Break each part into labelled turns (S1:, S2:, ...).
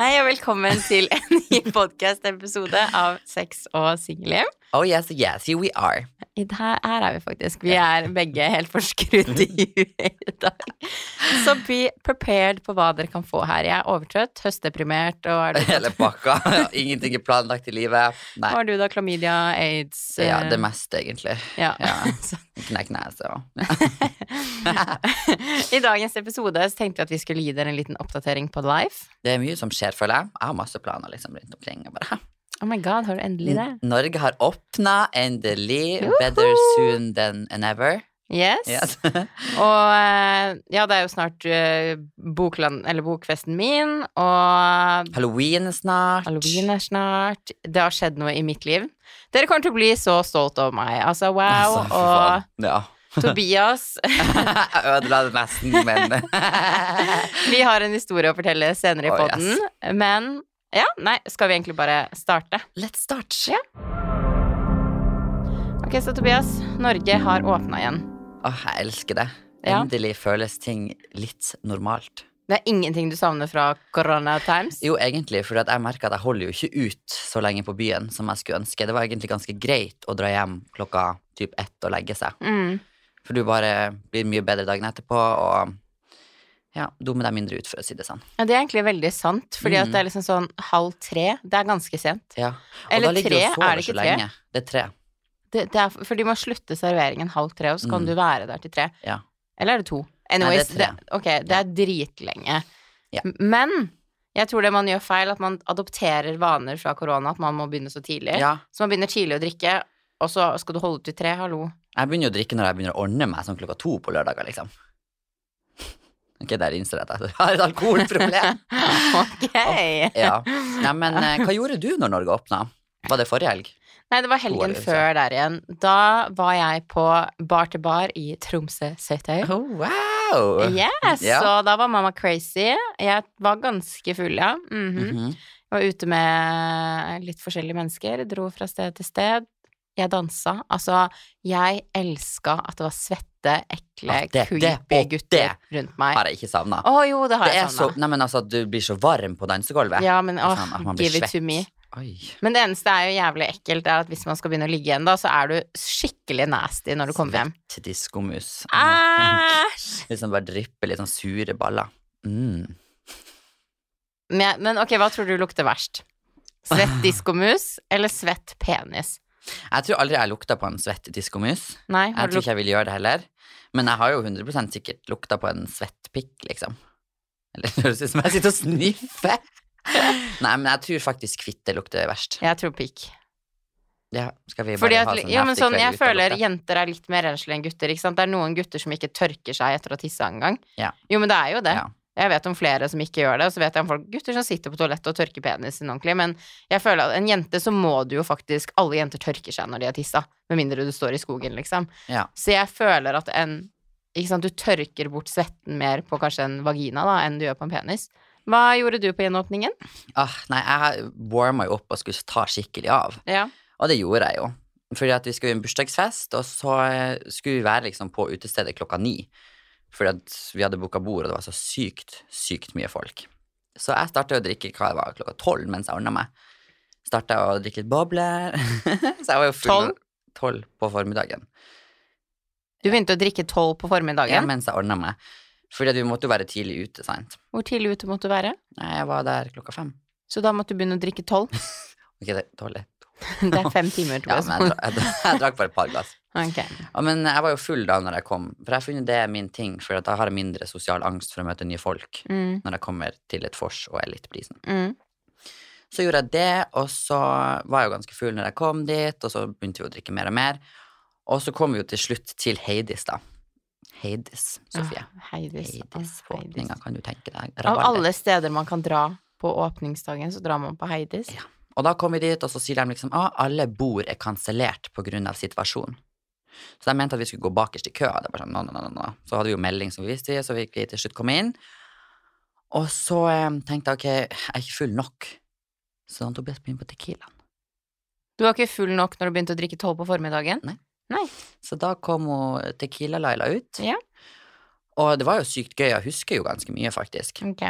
S1: Hei og velkommen til en ny podcast-episode av Sex og singelliv.
S2: Oh yes, yes, here we are.
S1: I det Her, her er vi faktisk. Vi er begge helt forskrudd i huet i dag. Så be prepared på hva dere kan få her. Jeg er overtrøtt, høstdeprimert, og er du,
S2: Hele pakka. Ingenting er planlagt i livet. Nei.
S1: har du da klamydia, aids
S2: Ja,
S1: eh,
S2: det meste, egentlig.
S1: ja.
S2: Ja.
S1: Så-
S2: Knekk nese og
S1: I dagens episode så tenkte vi at vi skulle gi dere en liten oppdatering på life.
S2: Det er mye som skjer, føler jeg. Jeg har masse planer liksom rundt omkring. og Bare.
S1: Oh my god, har du endelig det?
S2: Norge har åpna, endelig. Better soon than ever.
S1: Yes.
S2: Yes.
S1: Og eh, ja, det er jo snart eh, bokland, eller bokfesten min, og
S2: Halloween er snart.
S1: halloween er snart. Det har skjedd noe i mitt liv. Dere kommer til å bli så stolt over meg. Altså, wow.
S2: Altså, fy faen. Ja.
S1: og Tobias
S2: Jeg ødela det nesten, men
S1: Vi har en historie å fortelle senere i
S2: Oh,
S1: podden, men ja, nei, skal vi egentlig bare starte?
S2: Let's start.
S1: Ja. Ok, så Tobias, Norge har åpna igjen.
S2: Åh, jeg elsker det.
S1: Ja.
S2: Endelig føles ting litt normalt.
S1: Det er ingenting du savner fra Corona Times?
S2: Jo, egentlig, for jeg merker at jeg holder jo ikke ut så lenge på byen som jeg skulle ønske. Det var egentlig ganske greit å dra hjem klokka typ ett og legge seg.
S1: Mm.
S2: For du bare blir mye bedre dagen etterpå, og ja, dummer deg mindre ut, for å si det sånn.
S1: Ja, det er egentlig veldig sant, fordi at
S2: Mm.
S1: det er liksom sånn halv tre. Det er ganske sent.
S2: Ja. Og
S1: Eller
S2: da ligger du og
S1: tre,
S2: sover
S1: er det
S2: så
S1: ikke tre?
S2: lenge. Det er tre.
S1: Det, det er, for de må slutte serveringen halv tre, og så kan
S2: Mm.
S1: du være der til tre.
S2: Ja.
S1: Eller er det to?
S2: det er
S1: Anyways,
S2: tre.
S1: det, ok, det er dritlenge.
S2: Ja.
S1: M- Men jeg tror det man gjør feil, at man adopterer vaner fra korona, at man må begynne så tidlig.
S2: Ja.
S1: Så man begynner tidlig å drikke, og så skal du holde ut til tre, hallo.
S2: Jeg begynner jo å drikke når jeg begynner å ordne meg sånn klokka to på lørdager, liksom. Ok, der innser jeg at jeg har et alkoholproblem.
S1: Ok.
S2: Ja. Nei, men eh, hva gjorde du når Norge åpna? Var det forrige helg?
S1: Nei, det var
S2: To år,
S1: helgen
S2: liksom.
S1: før der igjen. Da var jeg på bar til bar i Tromsø Søtøy.
S2: Oh, wow!
S1: Yes,
S2: Ja.
S1: så da var mamma crazy. Jeg var ganske full, ja. Mhm.
S2: Mhm.
S1: Jeg var ute med litt forskjellige mennesker, dro fra sted til sted. Jeg dansa. Altså, jeg elska at det var svette, ekle,
S2: Ja, Ah, det- det-
S1: creepy
S2: og
S1: gutter
S2: det
S1: rundt meg.
S2: Har jeg ikke savna.
S1: Å jo, det har
S2: Det
S1: jeg
S2: er så,
S1: savna.
S2: nei, men altså, at du blir så varm på dansegulvet.
S1: Ja, men åh,
S2: Sånn at man blir
S1: give it to
S2: svett.
S1: me.
S2: Oi.
S1: Men det eneste er jo jævlig ekkelt, er at hvis man skal begynne å ligge igjen, da, så er du skikkelig nasty når du kommer hjem. Ah!
S2: Svett diskomus.
S1: Æsj!
S2: Liksom bare drypper litt sånn sure baller. Mm.
S1: Men, men ok, hva tror du lukter verst? Svett diskomus eller svett penis?
S2: Jeg tror aldri jeg lukta på en svett diskomus.
S1: Nei, har
S2: Jeg
S1: du
S2: tror ikke jeg vil gjøre det heller. Men jeg har jo 100 sikkert lukta på en svett pikk, liksom. Eller det høres ut som jeg sitter og sniffer. Nei, men jeg tror faktisk kvitte lukter verst.
S1: lukt- Jeg tror pikk.
S2: Ja, skal vi bare
S1: Fordi at,
S2: ha
S1: jo,
S2: sånn
S1: men
S2: heftig
S1: sånn,
S2: kveld
S1: jeg
S2: ute og
S1: føler
S2: lukte?
S1: jenter er litt mer renslige enn gutter. Ikke sant? Det er noen gutter som ikke tørker seg etter å ha tissa engang.
S2: Ja.
S1: Jo, men det er jo det.
S2: Ja.
S1: Jeg vet om flere som ikke gjør det, og så vet jeg om folk, gutter som sitter på toalettet og tørker penisen ordentlig. Men jeg føler at en jente så må du jo faktisk Alle jenter tørker seg når de har tissa, med mindre du står i skogen, liksom.
S2: Ja.
S1: Så jeg føler at en ikke sant, Du tørker bort svetten mer på kanskje en vagina da, enn du gjør på en penis. Hva gjorde du på gjenåpningen?
S2: Ah, nei, jeg warma jo opp og skulle ta skikkelig av.
S1: Ja.
S2: Og det gjorde jeg jo. Fordi at vi skulle i en bursdagsfest, og så eh, skulle vi være liksom på utestedet klokka ni. Fordi at vi hadde booka bord, og det var så sykt, sykt mye folk. Så jeg starta å drikke hva det var, klokka tolv mens jeg ordna meg. Starta å drikke litt bobler. så jeg var jo full
S1: Tolv?
S2: tolv på formiddagen.
S1: Du begynte å drikke tolv på
S2: Ja,
S1: formiddagen.
S2: mens jeg ordna meg. Fordi at vi måtte jo være tidlig ute, sant.
S1: Hvor tidlig ute måtte du være?
S2: Nei, jeg var der klokka fem.
S1: Så da måtte du begynne å drikke tolv.
S2: Ok, det er dårlig.
S1: Det er fem timer,
S2: Ja,
S1: tror
S2: men jeg,
S1: jeg.
S2: dra- jeg, dra- jeg drakk bare et par glass.
S1: Ok.
S2: Ja, men jeg var jo full da når jeg kom, for jeg har funnet det er min ting, for at jeg har mindre sosial angst for å møte nye folk
S1: Mm,
S2: når jeg kommer til et vors og er litt brisen.
S1: mm.
S2: Så gjorde jeg det, og så var jeg jo ganske full når jeg kom dit, og så begynte vi å drikke mer og mer. Og så kom vi jo til slutt til Heidis, da. Heidis, Sofie.
S1: Ah, Heidis. ah,
S2: Heidis på
S1: Heidis.
S2: åpninga, kan du tenke deg.
S1: Av
S2: Rabalder.
S1: alle steder man kan dra på åpningsdagen, så drar man på Heidis.
S2: Ja. Og da kom vi dit, og så sier de liksom at alle bord er kansellert pga. situasjonen. Så de mente at vi skulle gå bakerst i køa. Det var bare sånn, no, no, no, no, no. Så hadde vi jo melding som vi visste, så fikk vi til slutt komme inn. Og så eh, tenkte jeg ok, jeg er ikke full nok. Så da Tobias begynte på Tequilaen.
S1: Du var ikke full nok når du begynte å drikke tolv på formiddagen?
S2: Nei. Så da kom hun Tequila-Laila ut.
S1: Ja.
S2: Og det var jo sykt gøy, jeg husker jo ganske mye, faktisk.
S1: Ok.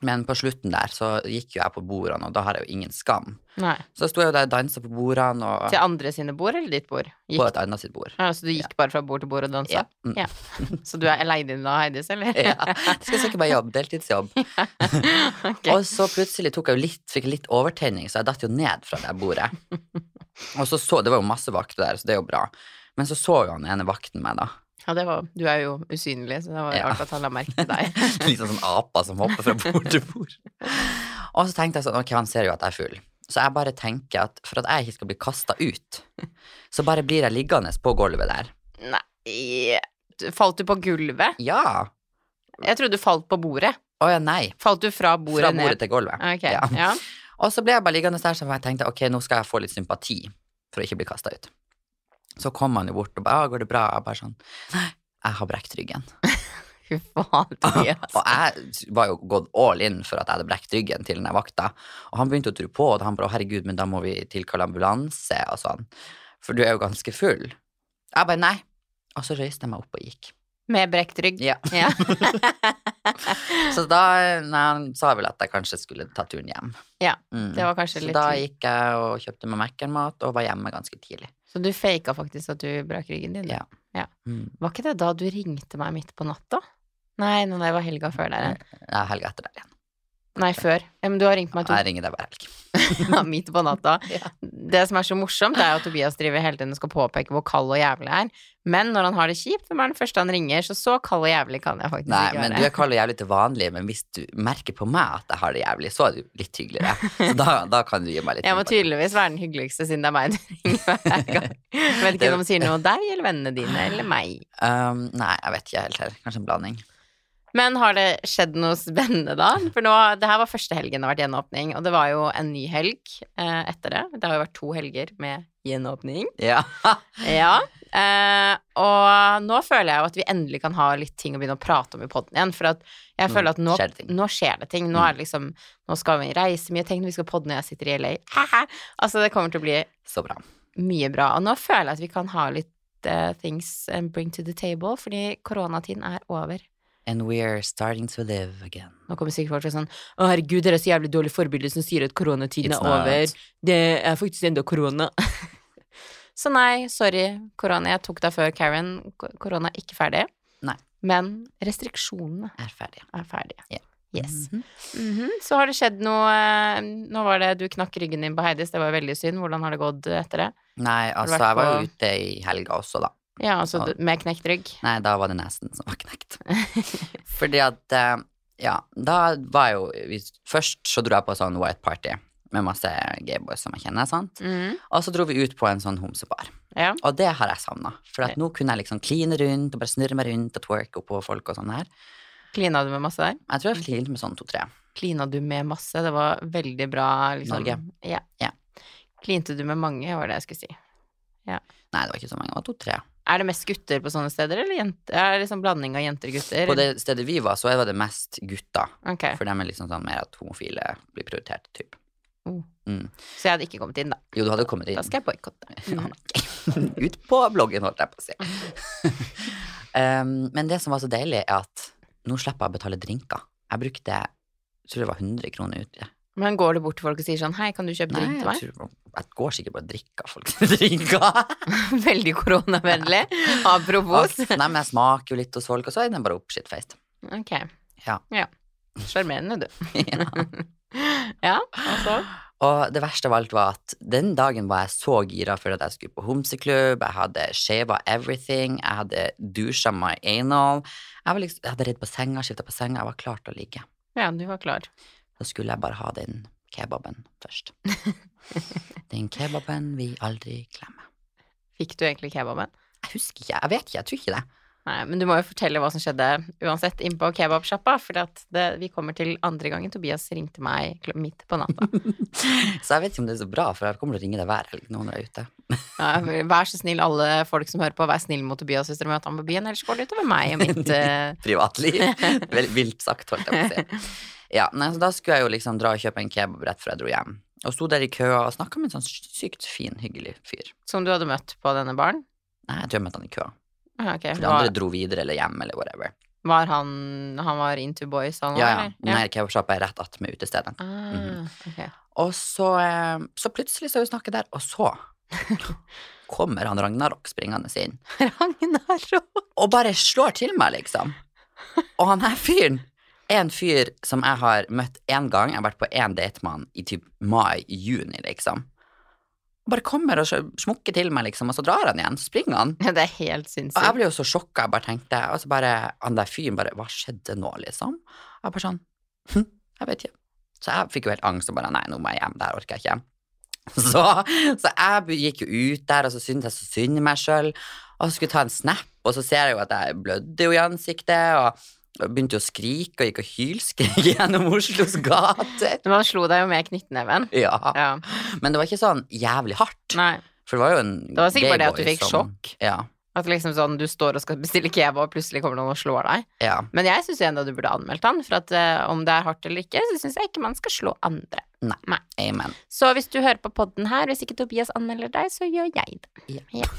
S2: Men på slutten der så gikk jo jeg på bordene, og da har jeg jo ingen skam.
S1: Nei.
S2: Så sto jeg jo der og dansa på bordene, og
S1: Til andre sine bord eller ditt bord?
S2: på
S1: Gikk,
S2: et annet sitt bord.
S1: ja, så du gikk bare fra bord til bord og dansa?
S2: Ja. Mm.
S1: Ja. Så du er aleine inne av Heidis, eller?
S2: ja. Jeg skal søke meg jobb, deltidsjobb.
S1: Ok.
S2: Og så plutselig tok jeg jo litt, fikk jeg litt overtenning, så jeg datt jo ned fra det bordet. Og så så, Det var jo masse vakter der, så det er jo bra. Men så så jo han ene vakten meg, da.
S1: Ja, det var, du er jo usynlig, så det var
S2: Ja.
S1: rart at han la merke til deg.
S2: Litt sånn apa som hopper fra bord til bord. Og så tenkte jeg sånn, ok, han ser jo at jeg er full. Så jeg bare tenker at for at jeg ikke skal bli kasta ut, så bare blir jeg liggende på gulvet der.
S1: Nei Falt du på gulvet?
S2: Ja!
S1: Jeg trodde du falt på bordet.
S2: Å ja, nei.
S1: Falt du fra
S2: Fra
S1: bordet
S2: bordet
S1: ned?
S2: til gulvet.
S1: Ok,
S2: Ja.
S1: ja.
S2: Og så ble jeg bare liggende der, så jeg tenkte ok, nå skal jeg få litt sympati for å ikke bli kasta ut. Så kom han jo bort og bare, «Ah, går det bra? Jeg bare sånn, nei, jeg har brekt ryggen.
S1: Fy faen, Tobias.
S2: Og jeg var jo gått all in for at jeg hadde brekt ryggen til den der vakta. Og han begynte å tro på, og han bare «Å, herregud, men da må vi tilkalle ambulanse og sånn. For du er jo ganske full. Jeg bare nei. Og så røyste jeg meg opp og gikk.
S1: Med brekt rygg.
S2: Ja.
S1: Ja.
S2: Så da nei, han sa vel at jeg kanskje skulle ta turen hjem.
S1: Ja,
S2: Mm.
S1: det var kanskje
S2: så
S1: litt
S2: da gikk jeg og kjøpte meg Mækkern-mat og var hjemme ganske tidlig.
S1: Så du faka faktisk at du brakk ryggen din? du?
S2: Ja. Mm.
S1: Var ikke det da du ringte meg midt på natta? Nei, nei, det var helga før der igjen.
S2: Ja, helga etter der igjen.
S1: Nei, før. Ja, men du har ringt meg to
S2: Jeg ringer deg hver helg.
S1: Ja, midt på natta.
S2: Ja.
S1: Det som er så morsomt, er jo at Tobias driver hele tiden og skal påpeke hvor kald og jævlig jeg er. Men når han har det kjipt, hvem er den første han ringer? Så så kald og jævlig kan jeg faktisk
S2: Nei,
S1: ikke
S2: men
S1: være.
S2: du er kald og jævlig til vanlig, men hvis du merker på meg at jeg har det jævlig, så er du litt hyggeligere. Så da, da kan du gi meg litt
S1: Jeg må
S2: sympati.
S1: tydeligvis være den hyggeligste siden det er meg du ringer hver gang. Vet ikke om de sier noe om deg eller vennene dine eller meg.
S2: Um, nei, jeg vet ikke helt her. Kanskje en blanding.
S1: Men har det skjedd noe spennende da? For nå, det her var første helgen det har vært gjenåpning, og det var jo en ny helg eh, etter det. Det har jo vært to helger med gjenåpning.
S2: Ja.
S1: Ja. Eh, og nå føler jeg jo at vi endelig kan ha litt ting å begynne å prate om i podden igjen. For at jeg
S2: Nå
S1: føler at nå
S2: Mm. skjer det ting.
S1: nå skjer det ting. Nå er det liksom Nå skal vi reise mye. Tenk når vi skal podde når jeg sitter i LA. altså, det kommer til å bli
S2: Så bra.
S1: mye bra. Og nå føler jeg at vi kan ha litt eh, things and bring to the table, fordi koronatiden er over.
S2: And we're starting to live again.
S1: Nå kommer sikkert folk til å sånn Å, herregud, dere er så jævlig dårlige forbilder som sier at koronatiden
S2: It's
S1: er
S2: not.
S1: over. Det er faktisk enda korona. så nei, sorry, korona. Jeg tok deg før, Karen. Ko- Korona er ikke ferdig.
S2: Nei.
S1: Men restriksjonene
S2: Er ferdig.
S1: er ferdige.
S2: Ja.
S1: Yes.
S2: Mhm.
S1: Mhm. Så har det skjedd noe eh, Nå var det du knakk ryggen din på Heidis, det var veldig synd. Hvordan har det gått etter det?
S2: Nei, altså,
S1: vært
S2: jeg var jo
S1: på-
S2: ute i helga også, da.
S1: Ja, altså
S2: Ja.
S1: du- med knekt rygg.
S2: Nei, da var det nesen som var knekt. Fordi at eh, Ja, da var jo vi, Først så dro jeg på sånn white party med masse gayboys som jeg kjenner, sant.
S1: Mhm.
S2: Og så dro vi ut på en sånn homsebar.
S1: Ja.
S2: Og det har jeg savna. For at nå kunne jeg liksom kline rundt og bare snurre meg rundt og twerke oppå folk og sånn her.
S1: Klina du med masse der?
S2: Jeg tror jeg klinte med sånn to-tre.
S1: Klina du med masse? Det var veldig bra. Liksom.
S2: Norge.
S1: Ja.
S2: Ja.
S1: Klinte du med mange, var det jeg skulle si.
S2: Nei, det var ikke så mange. Det var to-tre.
S1: Er det mest gutter på sånne steder, eller jenter? Er det liksom blanding av jenter og gutter?
S2: På det stedet vi var, så var det mest gutter.
S1: Ok,
S2: For dem er liksom sånn mer at homofile blir prioritert, typ.
S1: Oh.
S2: Mm.
S1: så jeg hadde ikke kommet inn, da.
S2: Jo, du hadde kommet inn.
S1: Da skal jeg boikotte.
S2: Ja, Ut på bloggen, holdt jeg på å si. um, men det som var så deilig, er at nå slipper jeg å betale drinker. Jeg brukte jeg tror det var 100 kroner ut. Ja.
S1: Men går du bort til folk og sier sånn Hei, kan du kjøpe
S2: Nei,
S1: drink til meg?
S2: jeg, tror, jeg går sikkert bare og drikker av folk sine drinker.
S1: Veldig koronavennlig. Apropos.
S2: Nei, men jeg smaker jo litt hos folk, og så er den bare oppskittfeist.
S1: Ok.
S2: Ja.
S1: Sjarmerende, du.
S2: Ja.
S1: Ja, altså.
S2: Og det verste av alt var at den dagen var jeg så gira for at jeg skulle på homseklubb, jeg hadde shava everything, jeg hadde dusja my anal, jeg, var liksom, jeg hadde redd på senga, skifta på senga, jeg var klar til å ligge.
S1: Ja, du var klar.
S2: Så skulle jeg bare ha den kebaben først. Den kebaben vi aldri glemmer.
S1: Fikk du egentlig kebaben?
S2: Jeg husker ikke, jeg vet ikke, jeg tror ikke det.
S1: Nei, men du må jo fortelle hva som skjedde uansett innpå kebabsjappa, for at det, vi kommer til andre gangen Tobias ringte meg kl- midt på natta.
S2: Så jeg vet ikke om det er så bra, for jeg kommer til å ringe deg hver helg nå når jeg er ute.
S1: Ja, vær så snill, alle folk som hører på, vær snill mot Tobias hvis dere møter ham på byen, ellers går det utover meg og mitt eh,
S2: Privatliv. Vel, vilt sagt, holdt jeg på å si. Ja, nei, så da skulle jeg jo liksom dra og kjøpe en kebab rett før jeg dro hjem. Og sto der i køa og snakka med en sånn sykt fin, hyggelig fyr.
S1: som du hadde møtt på denne baren.
S2: Nei, jeg tror jeg møtte han i køa.
S1: Ah, ok.
S2: For de
S1: Hva,
S2: andre dro videre eller hjem eller whatever.
S1: Var han Han var into boys, han
S2: Ja, ja.
S1: eller?
S2: Nei, Mhm. kebabsjappa er rett attmed utestedet.
S1: Ah, ok.
S2: Og så, eh, så plutselig så er vi snakket der, og så kommer han Ragnarok springende inn.
S1: Ragnar Rå.
S2: og bare slår til meg, liksom. Og han her fyren er en fyr som jeg har møtt én gang. Jeg har vært på én date med han i typ mai-juni, liksom. Bare kommer og så smukker til meg, liksom, og så drar han igjen. Så springer han.
S1: Ja, Det er helt
S2: Og jeg
S1: sinnssykt.
S2: ble jo så sjokka, jeg bare tenkte Og så bare han der fyren bare Hva skjedde nå, liksom? Jeg bare sånn «Hm, Jeg vet ikke. Så jeg fikk jo helt angst og bare Nei, nå må jeg hjem. Det her orker jeg ikke. Så, så jeg be- gikk jo ut der, og så syntes jeg så synd i meg sjøl. Og så skulle jeg ta en snap, og så ser jeg jo at jeg blødde jo i ansiktet. Og og begynte jo å skrike og gikk og hylskrek gjennom Oslos gater.
S1: Men han slo deg jo med knyttneven.
S2: Ja.
S1: Ja.
S2: Men det var ikke sånn jævlig hardt.
S1: Nei.
S2: For det var jo en
S1: Det var sikkert bare det at
S2: gayboy
S1: du fikk
S2: som- Ja.
S1: At liksom sånn, du står og skal bestille kebab, og plutselig kommer noen og slår deg.
S2: ja.
S1: Men jeg syns ennå du burde anmeldt han, for at eh, om det er hardt eller ikke, så syns jeg ikke man skal slå andre.
S2: Amen.
S1: Så hvis du hører på podden her, hvis ikke Tobias anmelder deg, så gjør jeg det.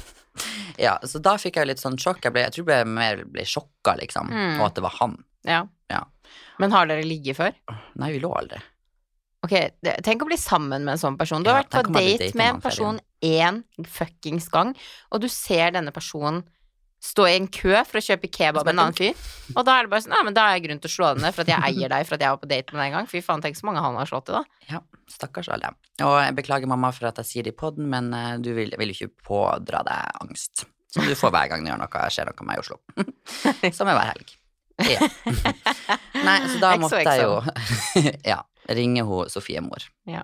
S2: Ja, så da fikk jeg jo litt sånn sjokk. Jeg, ble, jeg tror jeg ble mer ble sjokka, liksom.
S1: Mm.
S2: Og at det var han.
S1: Ja.
S2: Ja.
S1: Men har dere ligget før?
S2: Nei, vi lå aldri.
S1: Ok, det, Tenk å bli sammen med en sånn person. Du har
S2: Ja,
S1: vært på
S2: tenk om jeg hadde
S1: date
S2: datet
S1: med
S2: med
S1: en
S2: han før
S1: person én fuckings gang, og du ser denne personen stå i en kø for å kjøpe kebab med en annen fyr, og da er det bare sånn Ja, men da er det grunn til å slå deg ned for at jeg eier deg for at jeg var på date med deg en gang. Fy faen, tenk så mange han har slått i, da.
S2: Ja, stakkars alle. Og jeg beklager mamma for at jeg sier det i poden, men eh, du vil, vil ikke pådra deg angst. Som du får hver gang det gjør noe, skjer noe med meg i Oslo. Som er hver helg. Ja. Nei, så da
S1: XOXO.
S2: måtte jeg jo ja, ringe hun Sofie mor.
S1: Ja.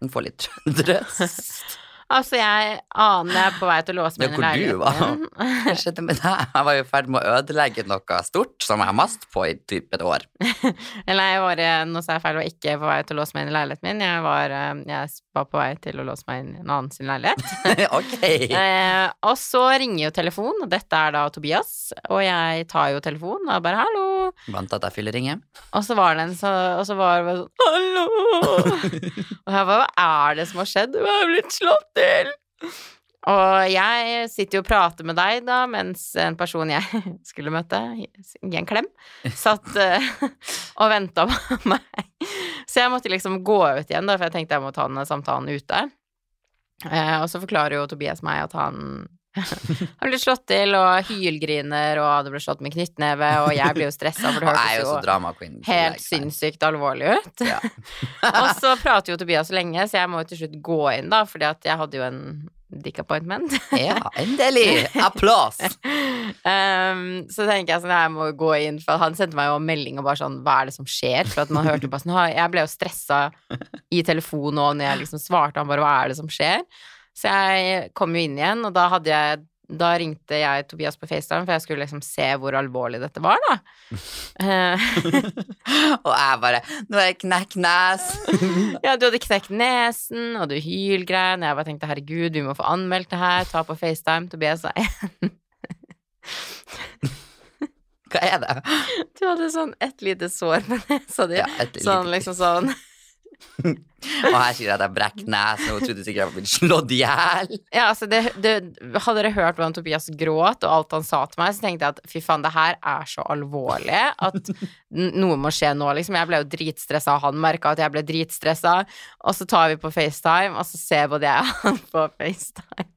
S2: Hun får litt trøst.
S1: Altså, jeg aner jeg er på vei til å låse meg
S2: Det
S1: inn
S2: er
S1: i
S2: hvor du var.
S1: leiligheten.
S2: Hva skjedde med deg? Jeg var jo i ferd med å ødelegge noe stort som jeg har mast på i typ et år.
S1: Eller jeg var, eh, nå sa jeg feil, jeg var ikke på vei til å låse meg inn i leiligheten min. Jeg var, eh, jeg var på vei til å låse meg inn i en annen sin leilighet.
S2: ok.
S1: Eh, og så ringer jo telefonen, og dette er da Tobias, og jeg tar jo telefonen og bare 'hallo'.
S2: Vant at jeg fyller ringen.
S1: Og så var det en så, og så var det bare sånn 'hallo'. og jeg bare 'hva er det som har skjedd? Du er blitt slått til'. Og jeg sitter jo og prater med deg da, mens en person jeg skulle møte, gi en klem, satt eh, og venta på meg. Så jeg måtte liksom gå ut igjen, da, for jeg tenkte jeg må ta den samtalen ute. Eh, og så forklarer jo Tobias meg at han har blitt slått til og hylgriner, og det ble slått med knyttneve, og jeg blir jo stressa, for
S2: Og
S1: det
S2: jeg er jo
S1: hørtes
S2: så
S1: jo
S2: drama queen.
S1: helt sinnssykt alvorlig ut.
S2: Ja.
S1: og så prater jo Tobias lenge, så jeg må jo til slutt gå inn, da, fordi at jeg hadde jo en dick appointment.
S2: Ja, endelig! Applaus!
S1: um, så tenker jeg sånn, jeg må gå inn, for han sendte meg jo en melding og bare sånn, hva er det som skjer? For at man hørte bare sånn, «Ha, jeg ble jo stressa i telefonen og når jeg liksom svarte han bare, hva er det som skjer? Så jeg kom jo inn igjen, og da hadde jeg da ringte jeg Tobias på FaceTime, for jeg skulle liksom se hvor alvorlig dette var, da. Eh,
S2: Og jeg bare Nå er jeg knekk-nes!
S1: ja, du hadde knekt nesen, og du hylgrein. Jeg bare tenkte, herregud, vi må få anmeldt det her. Ta på FaceTime. Tobias sa,
S2: Hva er det?
S1: du hadde sånn et lite sår på nesa di.
S2: Ja, et lite
S1: sånn liksom sånn
S2: Og her sier jeg at jeg brekker nesen, og hun trodde sikkert jeg var blitt slått i hjel.
S1: Ja, altså det, det, Hadde dere hørt hvordan Tobias gråt og alt han sa til meg, så tenkte jeg at fy faen, det her er så alvorlig at n- noe må skje nå, liksom. Jeg ble jo dritstressa, og han merka at jeg ble dritstressa. Og så tar vi på FaceTime, og så ser både jeg og han på FaceTime.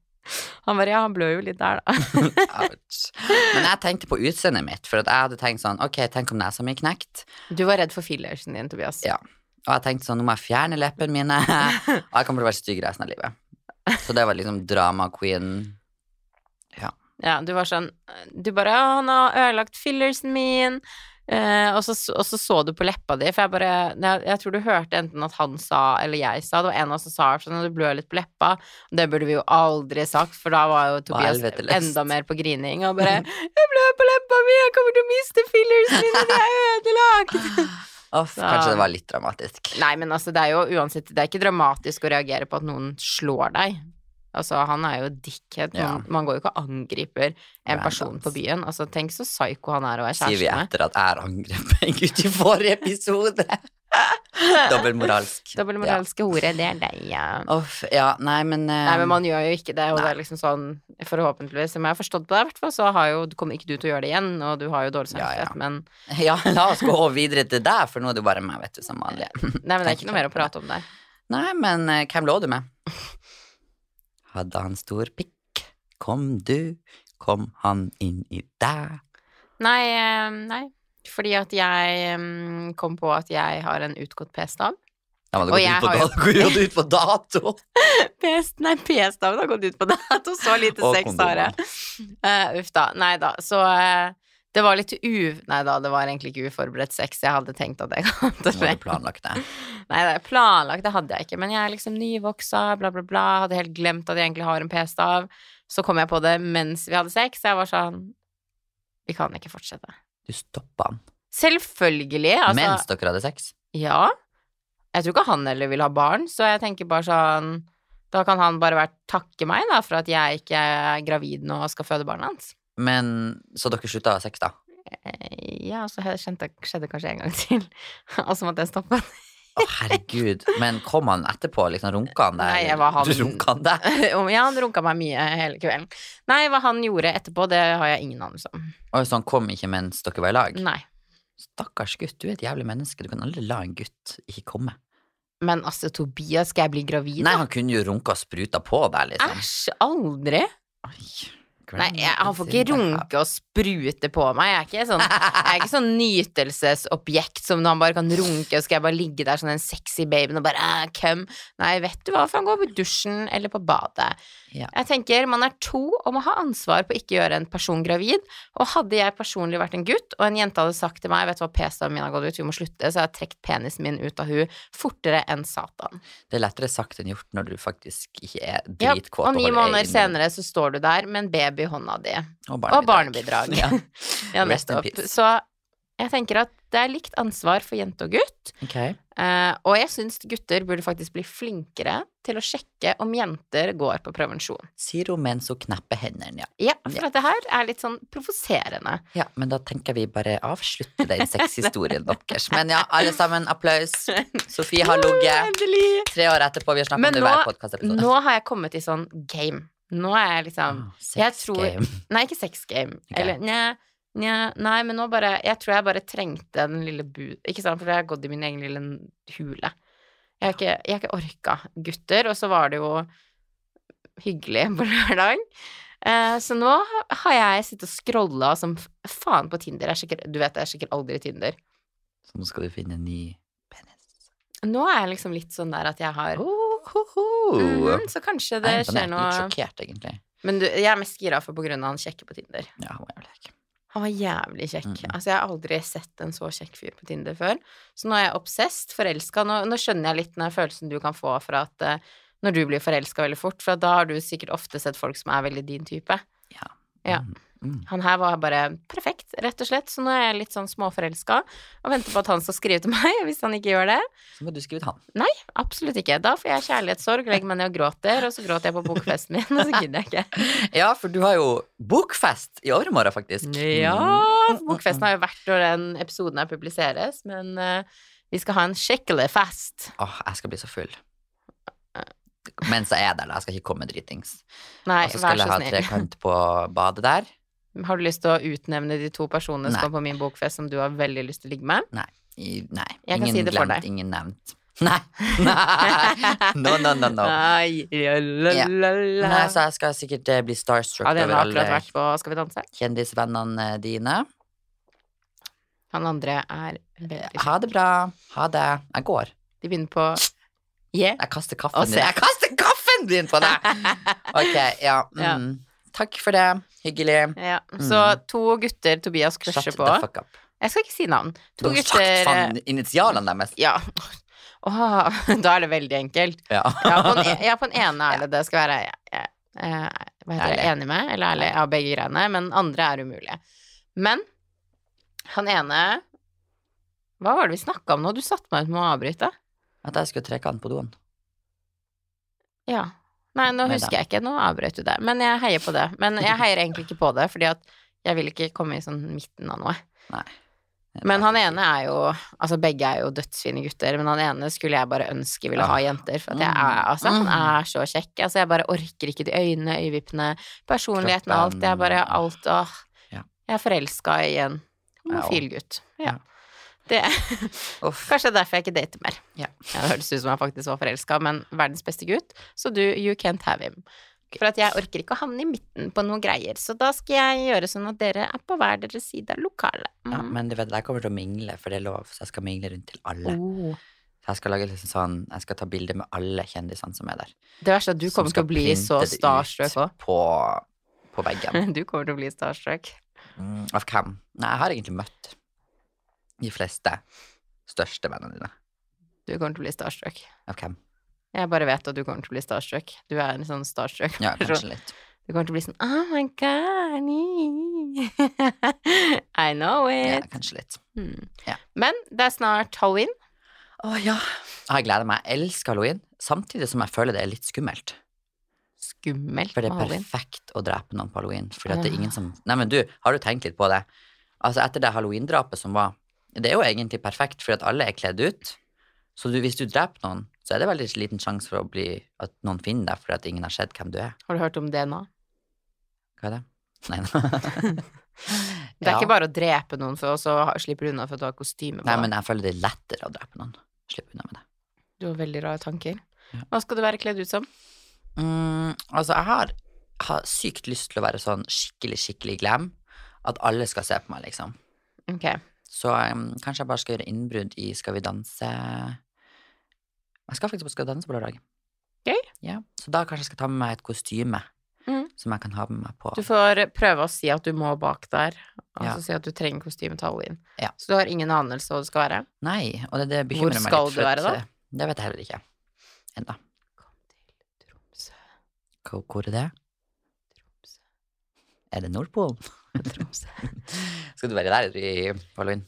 S1: Han bare ja, han blør jo litt der, da.
S2: Ouch. Men jeg tenkte på utseendet mitt, for at jeg hadde tenkt sånn Ok, tenk om nesa mi er knekt.
S1: Du var redd for fillersen din, Tobias.
S2: Ja. Og jeg tenkte sånn, nå må jeg fjerne leppene mine. Og jeg kommer til å være stygg resten av livet. Så det var liksom drama queen.
S1: Ja, du var sånn Du bare «Å, 'Han har ødelagt fillersen min'. Eh, og, så, og så så du på leppa di, for jeg bare jeg, jeg tror du hørte enten at han sa, eller jeg sa, det var en av oss som sa sånn at du blør litt på leppa. Det burde vi jo aldri sagt, for da var jo Tobias
S2: helvete lest.
S1: enda mer på grining og bare 'Jeg blør på leppa mi, jeg kommer til å miste fillersen min, og det er ødelagt'.
S2: Uff,
S1: Så-
S2: kanskje det var litt dramatisk.
S1: Nei, men altså, det er jo uansett Det er ikke dramatisk å reagere på at noen slår deg. Altså, han er jo dickhead.
S2: Ja.
S1: Man, man går jo ikke og angriper en
S2: Randoms.
S1: person på byen. Altså, tenk så psyko han er og er
S2: Sier vi
S1: kjæreste med.
S2: etter at jeg har angrepet en gutt i forrige episode. Dobbeltmoralsk.
S1: Dobbeltmoralske hore, det er deg, ja.
S2: Ja. Uff, ja, nei, men eh,
S1: Nei, men man gjør jo ikke det, og
S2: nei.
S1: det er liksom sånn Forhåpentligvis, som jeg har forstått på deg, i hvert fall, så har jo, kommer ikke du til å gjøre det igjen, og du har jo dårlig
S2: Ja, ja.
S1: samvittighet, men
S2: Ja, la oss gå videre til deg, for nå er det jo bare meg, vet du, som vanlig.
S1: Nei, men det er ikke
S2: Tenker
S1: noe mer
S2: på
S1: å prate om der.
S2: Nei, men eh, hvem lå du med? Hadde han stor pikk? Kom du, kom han inn i deg?
S1: Nei, eh, nei. Fordi at jeg mm, kom på at jeg har en utgått p-stav.
S2: Da må du
S1: Og
S2: gått
S1: jeg
S2: ut på,
S1: har jo-
S2: da- gått ut på dato!
S1: P- Nei, p-staven har gått ut på dato. Så lite
S2: Og
S1: sex har jeg. Eh, uff da. Nei da. Så eh, det var litt u... Nei da, det var egentlig ikke uforberedt sex. Jeg hadde tenkt at jeg kom til
S2: Nå
S1: å
S2: har du planlagt det.
S1: Nei, det er planlagt, det hadde jeg ikke. Men jeg er liksom nyvoksa, bla, bla, bla. Hadde helt glemt at jeg egentlig har en p-stav. Så kom jeg på det mens vi hadde sex. Jeg var sånn Vi kan ikke fortsette.
S2: Du stoppa han
S1: Selvfølgelig. Altså,
S2: mens dere hadde sex.
S1: Ja. Jeg tror ikke han heller vil ha barn, så jeg tenker bare sånn Da kan han bare være takke meg, da, for at jeg ikke er gravid nå og skal føde barnet hans.
S2: Men, så dere slutta å ha sex, da?
S1: Eh, Ja, så he- skjønte, skjedde kanskje en gang til, og så måtte jeg stoppe.
S2: Å, herregud. Men kom han etterpå? Liksom Runka han deg?
S1: Nei, jeg
S2: eller?
S1: var han-
S2: Du runka han deg?
S1: Om- Ja, han runka meg mye hele kvelden. Nei, hva han gjorde etterpå, det har jeg ingen anelse om.
S2: Og så han kom ikke mens dere var i lag?
S1: Nei.
S2: Stakkars gutt, du er et jævlig menneske. Du kan aldri la en gutt ikke komme.
S1: Men altså, Tobias, skal jeg bli gravid?
S2: Nei,
S1: da?
S2: han kunne jo runka og spruta på deg, liksom.
S1: Æsj, aldri. Nei, jeg, han får ikke runke og sprute på meg. Jeg er ikke sånn, jeg er ikke sånn nytelsesobjekt som han bare kan runke, og skal jeg bare ligge der sånn en sexy baby og bare «Ah, Come. Nei, vet du hva, for han går på dusjen eller på badet.
S2: Ja.
S1: Jeg tenker man er to og må ha ansvar på ikke å gjøre en person gravid. Og hadde jeg personlig vært en gutt, og en jente hadde sagt til meg Vet du hva, p-staven min har gått ut, vi må slutte, så jeg har trukket penisen min ut av hun fortere enn satan.
S2: Det er lettere sagt enn gjort når du faktisk ikke er
S1: Ja,
S2: dritkåt.
S1: og ni
S2: bare er
S1: måneder
S2: inne-
S1: senere så står du der med en baby i hånda di.
S2: og
S1: Og barnebidrag.
S2: Ja.
S1: Ja,
S2: Rest in
S1: nettopp.
S2: peace.
S1: Så jeg tenker at det er likt ansvar for jente og gutt.
S2: Ok.
S1: eh, og jeg syns gutter burde faktisk bli flinkere til å sjekke om jenter går på prevensjon.
S2: Sier hun mens hun knepper hendene, ja.
S1: Ja, for at det her er litt sånn provoserende.
S2: Ja, men da tenker vi bare avslutte den sexhistorien deres. Men ja, alle sammen, applaus. Sofie har ligget
S1: Endelig!
S2: tre år etterpå. Vi har snakket
S1: Men
S2: om det i
S1: nå-
S2: hver podkastepisode.
S1: Nå har jeg kommet i sånn game. Nå er jeg liksom jeg tror- Nei, ikke sex game.
S2: Ok.
S1: Eller nja, nja, nei, men nå bare Jeg tror jeg bare trengte den lille bu... Ikke sant, for jeg har gått i min egen lille hule. Jeg har ikke, jeg har ikke orka gutter, og så var det jo hyggelig på lørdag. Eh, så nå har jeg sittet og scrolla som f- faen på Tinder. Jeg sjekker, du vet, jeg sjekker aldri Tinder.
S2: Så nå skal du finne en ny penis.
S1: Nå er jeg liksom litt sånn der at jeg har Mhm, Så kanskje
S2: Jeg Oh. Mm-hmm.
S1: Oh, det skjer
S2: er imponert, Litt
S1: noe
S2: sjokkert, egentlig.
S1: Men du, jeg er mest gira for på grunn av han kjekke på Tinder.
S2: Ja, hun er vel kjekk.
S1: Han var jævlig kjekk.
S2: Mm.
S1: Altså, jeg har aldri sett en så kjekk fyr på Tinder før. Så nå er jeg obsessed, forelska. Nå, nå skjønner jeg litt den her følelsen du kan få fra at eh, når du blir forelska veldig fort, for da har du sikkert ofte sett folk som er veldig din type.
S2: Ja.
S1: Ja.
S2: Mm, mm.
S1: Han her var bare perfekt, rett og slett, så nå er jeg litt sånn småforelska og venter på at han skal skrive til meg, og hvis han ikke gjør det
S2: Så må du skrive ut han.
S1: Absolutt ikke. Da får jeg kjærlighetssorg, legger meg ned og gråter, og så gråter jeg på bokfesten min, og så gidder jeg ikke.
S2: Ja, for du har jo bokfest i overmorgen, faktisk.
S1: Ja,
S2: Mm,
S1: for
S2: mm,
S1: bokfesten
S2: mm.
S1: har jo vært når den episoden her publiseres, men eh, vi skal ha en skikkelig fest.
S2: Åh, jeg skal bli så full. Mens jeg er der, da. Jeg skal ikke komme dritings.
S1: Nei,
S2: Og så
S1: vær
S2: skal
S1: så
S2: jeg ha
S1: snill.
S2: trekant på badet der.
S1: Har du lyst til å utnevne de to personene
S2: Nei.
S1: som kom på min bokfest, som du har veldig lyst til å ligge med?
S2: I, nei.
S1: Jeg kan
S2: ingen
S1: si det for
S2: glemt,
S1: deg.
S2: ingen nevnt. Nei! Nei. No, no, no, no.
S1: Nei, ja, la,
S2: Ja.
S1: la, la.
S2: Nei, så jeg skal sikkert eh, bli starstruck
S1: Adrian
S2: over
S1: har
S2: alle
S1: akkurat vært på Skal vi danse.
S2: kjendisvennene eh, dine.
S1: Han andre er veldig
S2: Ha det bra. Ha det. Jeg går.
S1: De begynner på Yeah.
S2: Jeg kaster
S1: Og
S2: kaffen din.
S1: se.
S2: Jeg kaster kaffen din på deg! Ok, ja.
S1: Ja.
S2: Mm. Takk for det. Hyggelig.
S1: Ja. Så to gutter Tobias crusher
S2: Mm. Shut
S1: på.
S2: the fuck up.
S1: Jeg skal ikke si navn.
S2: Du
S1: To
S2: har sagt
S1: gutter
S2: faen initialene deres.
S1: Ja. Åh, da er det veldig enkelt.
S2: Ja.
S1: Ja, på den, e- ja, på den ene er det det skal være eh, eh, Hva heter det?
S2: Ærlig.
S1: Enig med? Eller ærlig? Ja, begge greiene. Men andre er umulige. Men han ene Hva var det vi snakka om nå? Du satte meg ut med å avbryte.
S2: At jeg skulle trekke han på doen.
S1: Ja. Nei, nå
S2: Neida.
S1: husker jeg ikke. Nå avbrøt du det. Men jeg heier på det. Men jeg heier egentlig ikke på det, fordi at jeg vil ikke komme i sånn midten av noe.
S2: Nei.
S1: Men han ene er jo Altså, begge er jo dødsfine gutter, men han ene skulle jeg bare ønske ville
S2: Ah.
S1: ha jenter. For at jeg er, altså, han
S2: Mm.
S1: er så kjekk. Altså, jeg bare orker ikke de øynene, øyevippene, personligheten, alt. Jeg bare alt Åh.
S2: Ja.
S1: Jeg er forelska i en homofil gutt. Ja. Det
S2: Uff.
S1: Kanskje det er derfor jeg ikke dater mer.
S2: Ja.
S1: Det høres ut som jeg faktisk var forelska, men verdens beste gutt, så du, you can't have him. For at jeg orker ikke å havne i midten på noen greier, så da skal jeg gjøre sånn at dere er på hver deres side av lokalet. Mm.
S2: Ja, men du vet, jeg kommer til å mingle, for det er lov, så jeg skal mingle rundt til alle.
S1: Oh.
S2: Så jeg skal lage liksom sånn, jeg skal ta bilder med alle kjendisene som er der.
S1: Det verste er at du
S2: Som
S1: kommer
S2: skal
S1: til å bli
S2: printe
S1: så
S2: det ut
S1: starstruck òg.
S2: På, på veggen.
S1: Du kommer til å bli starstruck.
S2: Mm, Av hvem? Nei, jeg har egentlig møtt de fleste største vennene dine.
S1: Du kommer til å bli starstruck.
S2: Av hvem?
S1: Jeg bare vet at du kommer til å bli starstruck. Du er en sånn starstruck.
S2: Ja,
S1: person.
S2: kanskje litt.
S1: Du kommer til å bli sånn Oh my god, I know
S2: Ja,
S1: it.
S2: kanskje litt.
S1: Mm.
S2: Ja.
S1: Men det er snart halloween.
S2: Å ja. Jeg gleder meg. Jeg elsker halloween, samtidig som jeg føler det er litt skummelt.
S1: skummelt
S2: For det
S1: med
S2: er
S1: halloween.
S2: perfekt å drepe noen på halloween. Fordi at det er
S1: Ja.
S2: ingen som Nei, men du, har du tenkt litt på det? Altså, etter det halloween-drapet som var Det er jo egentlig perfekt, fordi at alle er kledd ut. Så du, hvis du dreper noen, så er det veldig liten sjanse for å bli at noen finner deg fordi at ingen har sett hvem du er.
S1: Har du hørt om DNA?
S2: Hva er det? Nei, nei.
S1: Det er
S2: Ja.
S1: ikke bare å drepe noen, for, og så ha- slipper du unna for at du har kostyme på.
S2: Nei,
S1: deg.
S2: men jeg føler det er lettere å drepe noen. Slipp unna med det.
S1: Du har veldig rare tanker.
S2: Ja.
S1: Hva skal du være kledd ut som?
S2: Mm, altså, jeg har, har sykt lyst til å være sånn skikkelig, skikkelig glam. At alle skal se på meg, liksom.
S1: Ok,
S2: Så em, kanskje jeg bare skal gjøre innbrudd i Skal vi danse Jeg skal faktisk på Skal vi danse på lørdag.
S1: Gøy.
S2: Ja, så da kanskje jeg skal ta med meg et kostyme
S1: Mhm.
S2: som jeg kan ha med meg på.
S1: du får prøve å si at du må bak der,
S2: Ja.
S1: altså si at du trenger kostyme til halloween.
S2: Ja.
S1: Så du har ingen anelse hva det skal være.
S2: Nei, og det, det bekymrer meg litt.
S1: skal
S2: for
S1: du
S2: at,
S1: være da?
S2: eh, Det vet jeg heller ikke. Enda.
S1: Kom til Tromsø,
S2: Hvor- Hvor er det?
S1: Tromsø,
S2: Er det Nordpolen?
S1: Tromsø.
S2: Skal du være der i halloween?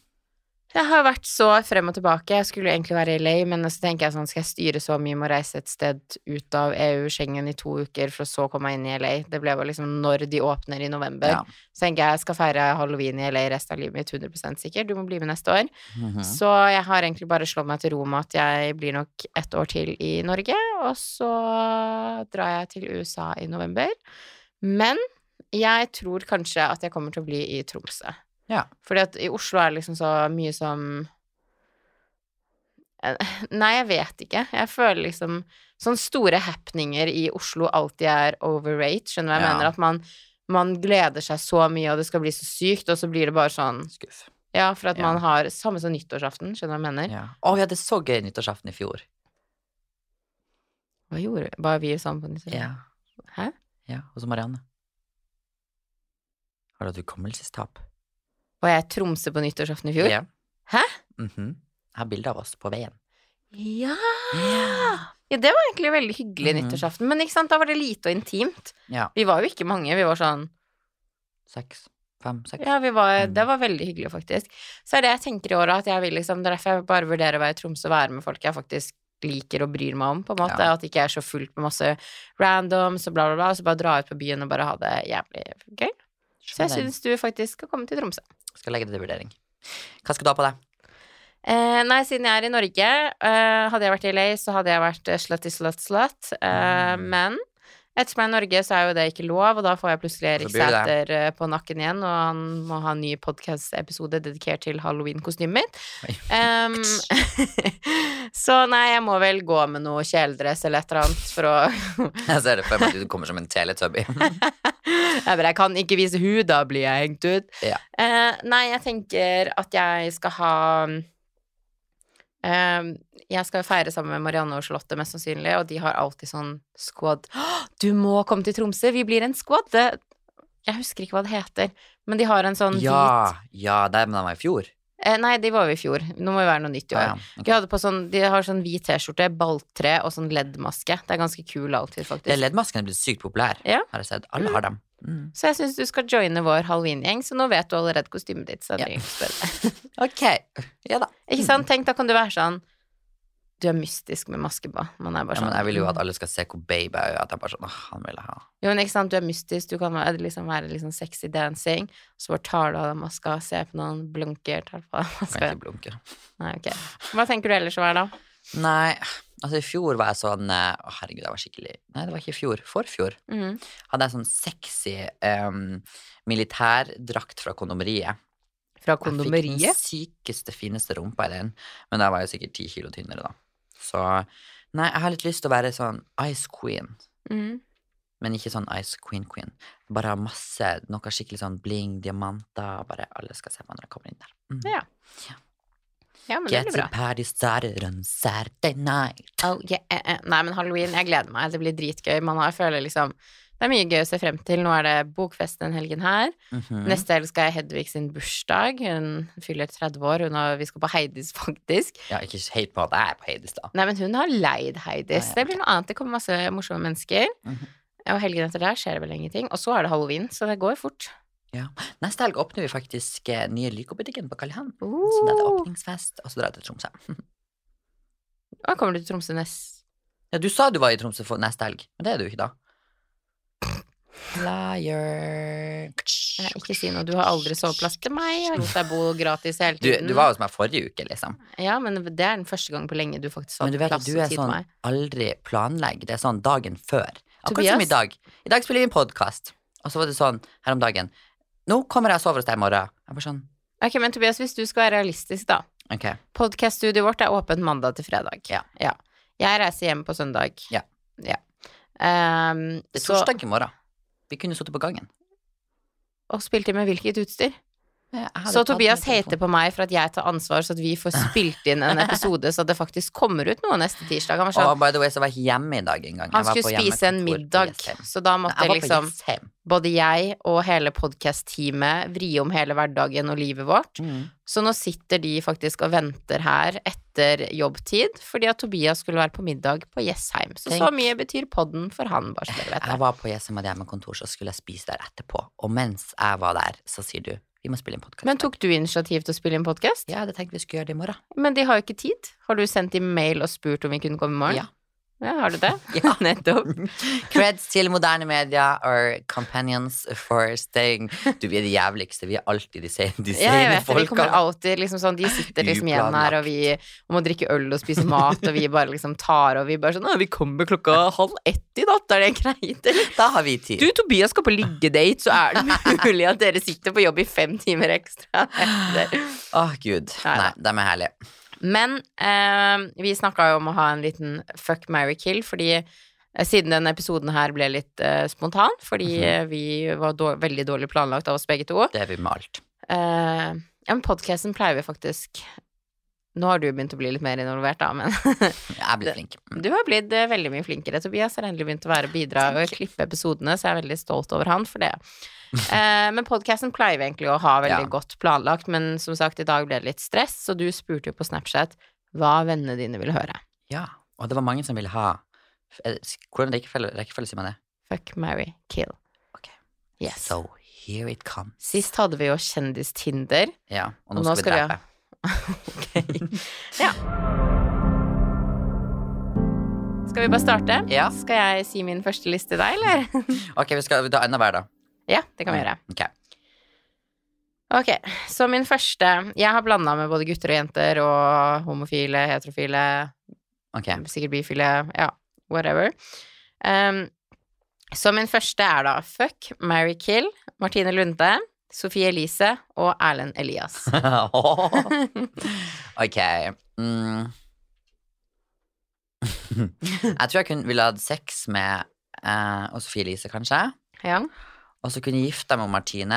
S1: Jeg har vært så frem og tilbake. Jeg skulle jo egentlig være i LA, men så tenker jeg sånn, skal jeg styre så mye med å reise et sted ut av EU, Schengen, i to uker, for å så komme meg inn i LA? Det ble bare liksom når de åpner i november.
S2: Ja.
S1: Så tenker jeg jeg skal feire halloween i LA resten av livet mitt, 100 sikkert. Du må bli med neste år.
S2: Mhm.
S1: Så jeg har egentlig bare slått meg til ro med at jeg blir nok ett år til i Norge, og så drar jeg til USA i november. Men jeg tror kanskje at jeg kommer til å bli i Tromsø.
S2: Ja.
S1: Fordi at i Oslo er det liksom så mye som Eh, Nei, jeg vet ikke. Jeg føler liksom Sånne store happeninger i Oslo alltid er overrate, skjønner du hva jeg
S2: Ja.
S1: mener? At man, man gleder seg så mye, og det skal bli så sykt, og så blir det bare sånn
S2: Skuff.
S1: ja, for at
S2: Ja.
S1: man har samme som nyttårsaften, skjønner du hva jeg mener?
S2: Ja. Å, vi hadde så gøy nyttårsaften i fjor.
S1: Hva gjorde vi? Var vi sammen på nyttårsaften?
S2: Ja.
S1: Hæ?
S2: Ja, og så Marianne. Har du hatt hukommelsestap?
S1: Var jeg i Tromsø på nyttårsaften i fjor?
S2: Ja.
S1: Hæ?
S2: Mhm. Jeg har bilde av oss på veien.
S1: Ja! Ja, det var egentlig veldig hyggelig
S2: Mhm.
S1: nyttårsaften, men ikke sant, da var det lite og intimt.
S2: Ja.
S1: Vi var jo ikke mange, vi var sånn
S2: Seks, fem, seks.
S1: Ja, vi var,
S2: Mm.
S1: det var veldig hyggelig, faktisk. Så er det jeg tenker i år, at jeg vil liksom Det er derfor jeg bare vurderer å være i Tromsø og være med folk jeg faktisk liker og bryr meg om, på en måte.
S2: Ja.
S1: At det ikke er så fullt med masse randoms og bla, bla, bla, og så bare dra ut på byen og bare ha det jævlig gøy. Så jeg
S2: Skjønner.
S1: syns du faktisk skal komme til Tromsø.
S2: Skal legge det til vurdering. Hva skal du ha på deg?
S1: Eh, nei, siden jeg er i Norge, eh, hadde jeg vært i LA, så hadde jeg vært eh, slutty slut slut. Eh,
S2: Mm.
S1: Men ettersom jeg er i Norge, så er jo det ikke lov, og da får jeg plutselig Erik
S2: Så blir det
S1: Sæther eh, på nakken igjen, og han må ha en ny podkast-episode dedikert til halloween-kostymet mitt.
S2: Oi.
S1: Em, så nei, jeg må vel gå med noe kjeledress eller et eller annet for å
S2: Jeg ser det for meg at du kommer som en teletubby.
S1: Jeg bare, jeg kan ikke vise hud, da blir jeg hengt ut.
S2: Ja.
S1: Eh, nei, jeg tenker at jeg skal ha eh, Jeg skal feire sammen med Marianne og Charlotte, mest sannsynlig, og de har alltid sånn squad. «Åh, Du må komme til Tromsø, vi blir en squad! Det, jeg husker ikke hva det heter, men de har en sånn hvit
S2: Ja, ja, det med den var i fjor.
S1: Eh, Nei, de var jo i fjor. Nå må jo være noe nytt i år.
S2: Ja, ja.
S1: De, hadde på sånn, de har sånn hvit T-skjorte, balltre og sånn LED-maske. Det er ganske kul outfit, faktisk.
S2: Det Leddmasken er blitt sykt populær,
S1: Ja.
S2: har jeg sett. Alle har dem. Mm.
S1: Så jeg syns du skal joine vår halloween-gjeng, så nå vet du allerede kostymet ditt. Så jeg
S2: Ja.
S1: trenger ikke spørre.
S2: Ok, ja da.
S1: Ikke sant? Tenk, da kan du være sånn Du er mystisk med maske på. Man er bare
S2: Ja,
S1: sånn
S2: men jeg vil jo at alle skal se hvor babe jeg er. At jeg bare sånn, åh, han vil jeg ha.
S1: Jo, men ikke sant, du er mystisk, du kan være, liksom, være liksom sexy dancing, så bare tar du av deg maska, ser på noen, blunker, tar på deg
S2: Kan
S1: maska.
S2: ikke blunke.
S1: Nei, ok. Hva tenker du ellers å være da?
S2: Nei, altså i fjor var jeg sånn eh, Å, herregud, jeg var skikkelig Nei, det var ikke i fjor. Forfjor.
S1: Mhm.
S2: Hadde jeg sånn sexy em, militærdrakt fra kondomeriet.
S1: Fra
S2: Jeg
S1: kondomeriet?
S2: fikk den sykeste, fineste rumpa i den, men da var jeg sikkert ti kilo tynnere, da. Så nei, jeg har litt lyst til å være sånn Ice Queen,
S1: Mhm.
S2: men ikke sånn Ice Queen Queen. Bare ha masse, noe skikkelig sånn bling, diamanter, bare alle skal se på når jeg kommer inn der. Mm.
S1: Ja, Ja, men det
S2: Get
S1: blir
S2: the
S1: bra.
S2: party started on Saturday night.
S1: Oh, yeah, eh, eh. Nei, men halloween, jeg gleder meg. Det blir dritgøy. Man har, jeg føler liksom Det er mye gøy å se frem til. Nå er det bokfest den helgen her.
S2: Mhm.
S1: Neste helg skal jeg i Hedvig sin bursdag. Hun fyller 30 år. Hun har, vi skal på Heidis, faktisk.
S2: Ja, ikke hate på at jeg er på Heidis, da.
S1: Nei, men hun har leid Heidis.
S2: Ah, ja,
S1: Det blir noe annet. Det kommer masse morsomme mennesker.
S2: Mhm.
S1: Og helgen etter der skjer det vel ingenting. Og så er det halloween, så det går fort.
S2: Neste helg åpner vi faktisk eh, nye Lyko-butikken på Karl Johan. Så da er det
S1: Uh.
S2: åpningsfest, og så drar jeg til Tromsø.
S1: Og kommer du til Tromsø nest
S2: Ja, du sa du var i Tromsø for neste helg, men det er du ikke da. Liar.
S1: Nei, Ikke si noe. Du har aldri soveplass til meg. Jeg har lot deg bo gratis hele
S2: Du,
S1: tiden.
S2: du var hos meg forrige uke, liksom.
S1: Ja, men det er den første gang på lenge du faktisk har
S2: Men du vet at
S1: plass
S2: du
S1: og
S2: er
S1: tid til
S2: sånn
S1: meg.
S2: aldri planlegg. Det er sånn dagen før. Akkurat som
S1: Tobias?
S2: i dag. I dag spiller vi en podkast, og så var det sånn her om dagen. Nå kommer jeg og sover hos deg i morgen. Jeg bare sånn,
S1: Ok, men Tobias, hvis du skal være realistisk, da.
S2: ok.
S1: Podcast-studioet vårt er åpent mandag til fredag.
S2: Ja.
S1: Jeg reiser hjem på søndag.
S2: Ja.
S1: Ja. Ehm,
S2: Det er
S1: så,
S2: torsdag i morgen. Vi kunne sittet på gangen.
S1: og spilte inn med hvilket utstyr?
S2: Jeg hadde
S1: Så
S2: tatt
S1: Tobias
S2: min telefon.
S1: heter på meg for at jeg tar ansvar, så at vi får spilt inn en episode, så at det faktisk kommer ut noe neste tirsdag. Han, var sånn,
S2: Og by the way, så var jeg ikke hjemme i dag engang.
S1: han skulle spise en middag, så da måtte
S2: jeg var på
S1: liksom
S2: Jessheim.
S1: både jeg og hele podkast-teamet vri om hele hverdagen og livet vårt.
S2: Mm.
S1: Så nå sitter de faktisk og venter her etter jobbtid, fordi at Tobias skulle være på middag på Jessheim. Så så
S2: Tenk.
S1: mye betyr podden for han, bare så dere vet det.
S2: Jeg var på Jessheim hadde hjemmekontor, så skulle jeg spise der etterpå. Og mens jeg var der, så sier du vi må spille en podkast.
S1: Men tok du initiativ til å spille inn podkast?
S2: Ja, det tenkte vi skulle gjøre det i morgen.
S1: Men de har jo ikke tid. Har du sendt dem mail og spurt om vi kunne komme i morgen?
S2: Ja.
S1: ja har du det?
S2: Ja.
S1: Nettopp.
S2: Creds til moderne media or companions for staying Du, vi er de jævligste. Vi er alltid de sene, de
S1: Ja, jeg
S2: sene
S1: vet det. Vi kommer
S2: folka.
S1: alltid liksom sånn De sitter liksom igjen her, og vi må drikke øl og spise mat, og vi bare liksom tar og vi bare sånn «Å, Vi kommer klokka halv ett i natt, er det greit, eller?
S2: Da har vi tid.
S1: Du, Tobias skal på liggedate, så er det mulig at dere sitter på jobb i fem timer ekstra.
S2: Å, gud.
S1: Nei da.
S2: Nei, de er herlige.
S1: Men eh, vi snakka jo om å ha en liten fuck, marry, kill, fordi eh, siden denne episoden her ble litt eh, spontan, fordi eh, vi var dår veldig dårlig planlagt av oss begge to.
S2: Det er vi med alt.
S1: Eh, ja, men podkasten pleier vi faktisk Nå har du begynt å bli litt mer involvert, da, men
S2: Jeg blir flink. Mm.
S1: du har blitt eh, veldig mye flinkere. Tobias har endelig begynt å være bidra og
S2: Takk.
S1: klippe episodene, så jeg er veldig stolt over han for det. Eh, men podkasten pleier vi egentlig å ha veldig
S2: Ja.
S1: godt planlagt, men som sagt, i dag ble det litt stress, så du spurte jo på Snapchat hva vennene dine ville høre.
S2: Ja. Og det var mange som ville ha Eh, Hvordan rekkefølge, rekkefølge sier man det?
S1: Fuck, marry, kill.
S2: Ok.
S1: Yes.
S2: So here it comes.
S1: Sist hadde vi jo Kjendistinder.
S2: Ja, og nå, skal vi drepe.
S1: Ja. Skal vi bare starte?
S2: Ja.
S1: Skal jeg si min første liste til deg, eller?
S2: Ok, vi skal ta enda hver, da.
S1: ja, det kan vi gjøre.
S2: Ok.
S1: Ok, så min første Jeg har blanda med både gutter og jenter og homofile, heterofile,
S2: ok.
S1: sikkert bifile, ja, whatever. Um, så min første er da Fuck, Mary Kill, Martine Lunde, Sofie Elise og Erlend Elias.
S2: ok. Mm. jeg tror jeg kunne ville hatt sex med eh, og Sofie Elise, kanskje.
S1: ja.
S2: Og så kunne jeg gifta meg med Martine.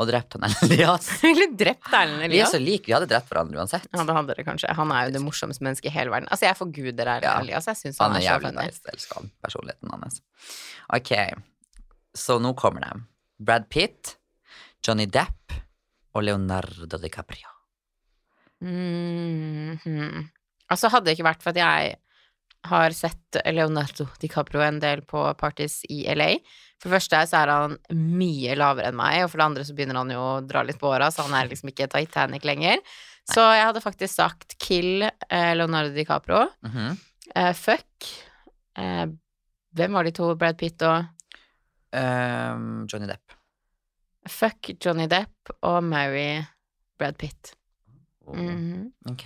S2: Og drept han Elias.
S1: Ville drept Erlend
S2: Vi er
S1: Elias.
S2: så like, vi hadde drept hverandre uansett.
S1: Ja, det hadde det kanskje. Han er jo det morsomste mennesket i hele verden. Altså, jeg forguder Erlend
S2: Ja.
S1: Elias. Jeg syns han,
S2: Han er
S1: er så
S2: jævlig
S1: funny.
S2: nice. Jeg elsker han, personligheten hans. Ok, så nå kommer de. Brad Pitt, Johnny Depp og Leonardo DiCaprio.
S1: Mhm. Altså, hadde det ikke vært for at jeg har sett Leonardo DiCaprio en del på parties i LA. For det første så er han mye lavere enn meg, og for det andre så begynner han jo å dra litt på åra, så han er liksom ikke Titanic lenger. Så jeg hadde faktisk sagt kill eh, Leonardo DiCaprio.
S2: Mhm.
S1: Eh, fuck eh, Hvem var de to? Brad Pitt og
S2: Ehm, Johnny Depp.
S1: Fuck Johnny Depp og marry Brad Pitt.
S2: Mm.
S1: Mhm.
S2: Ok.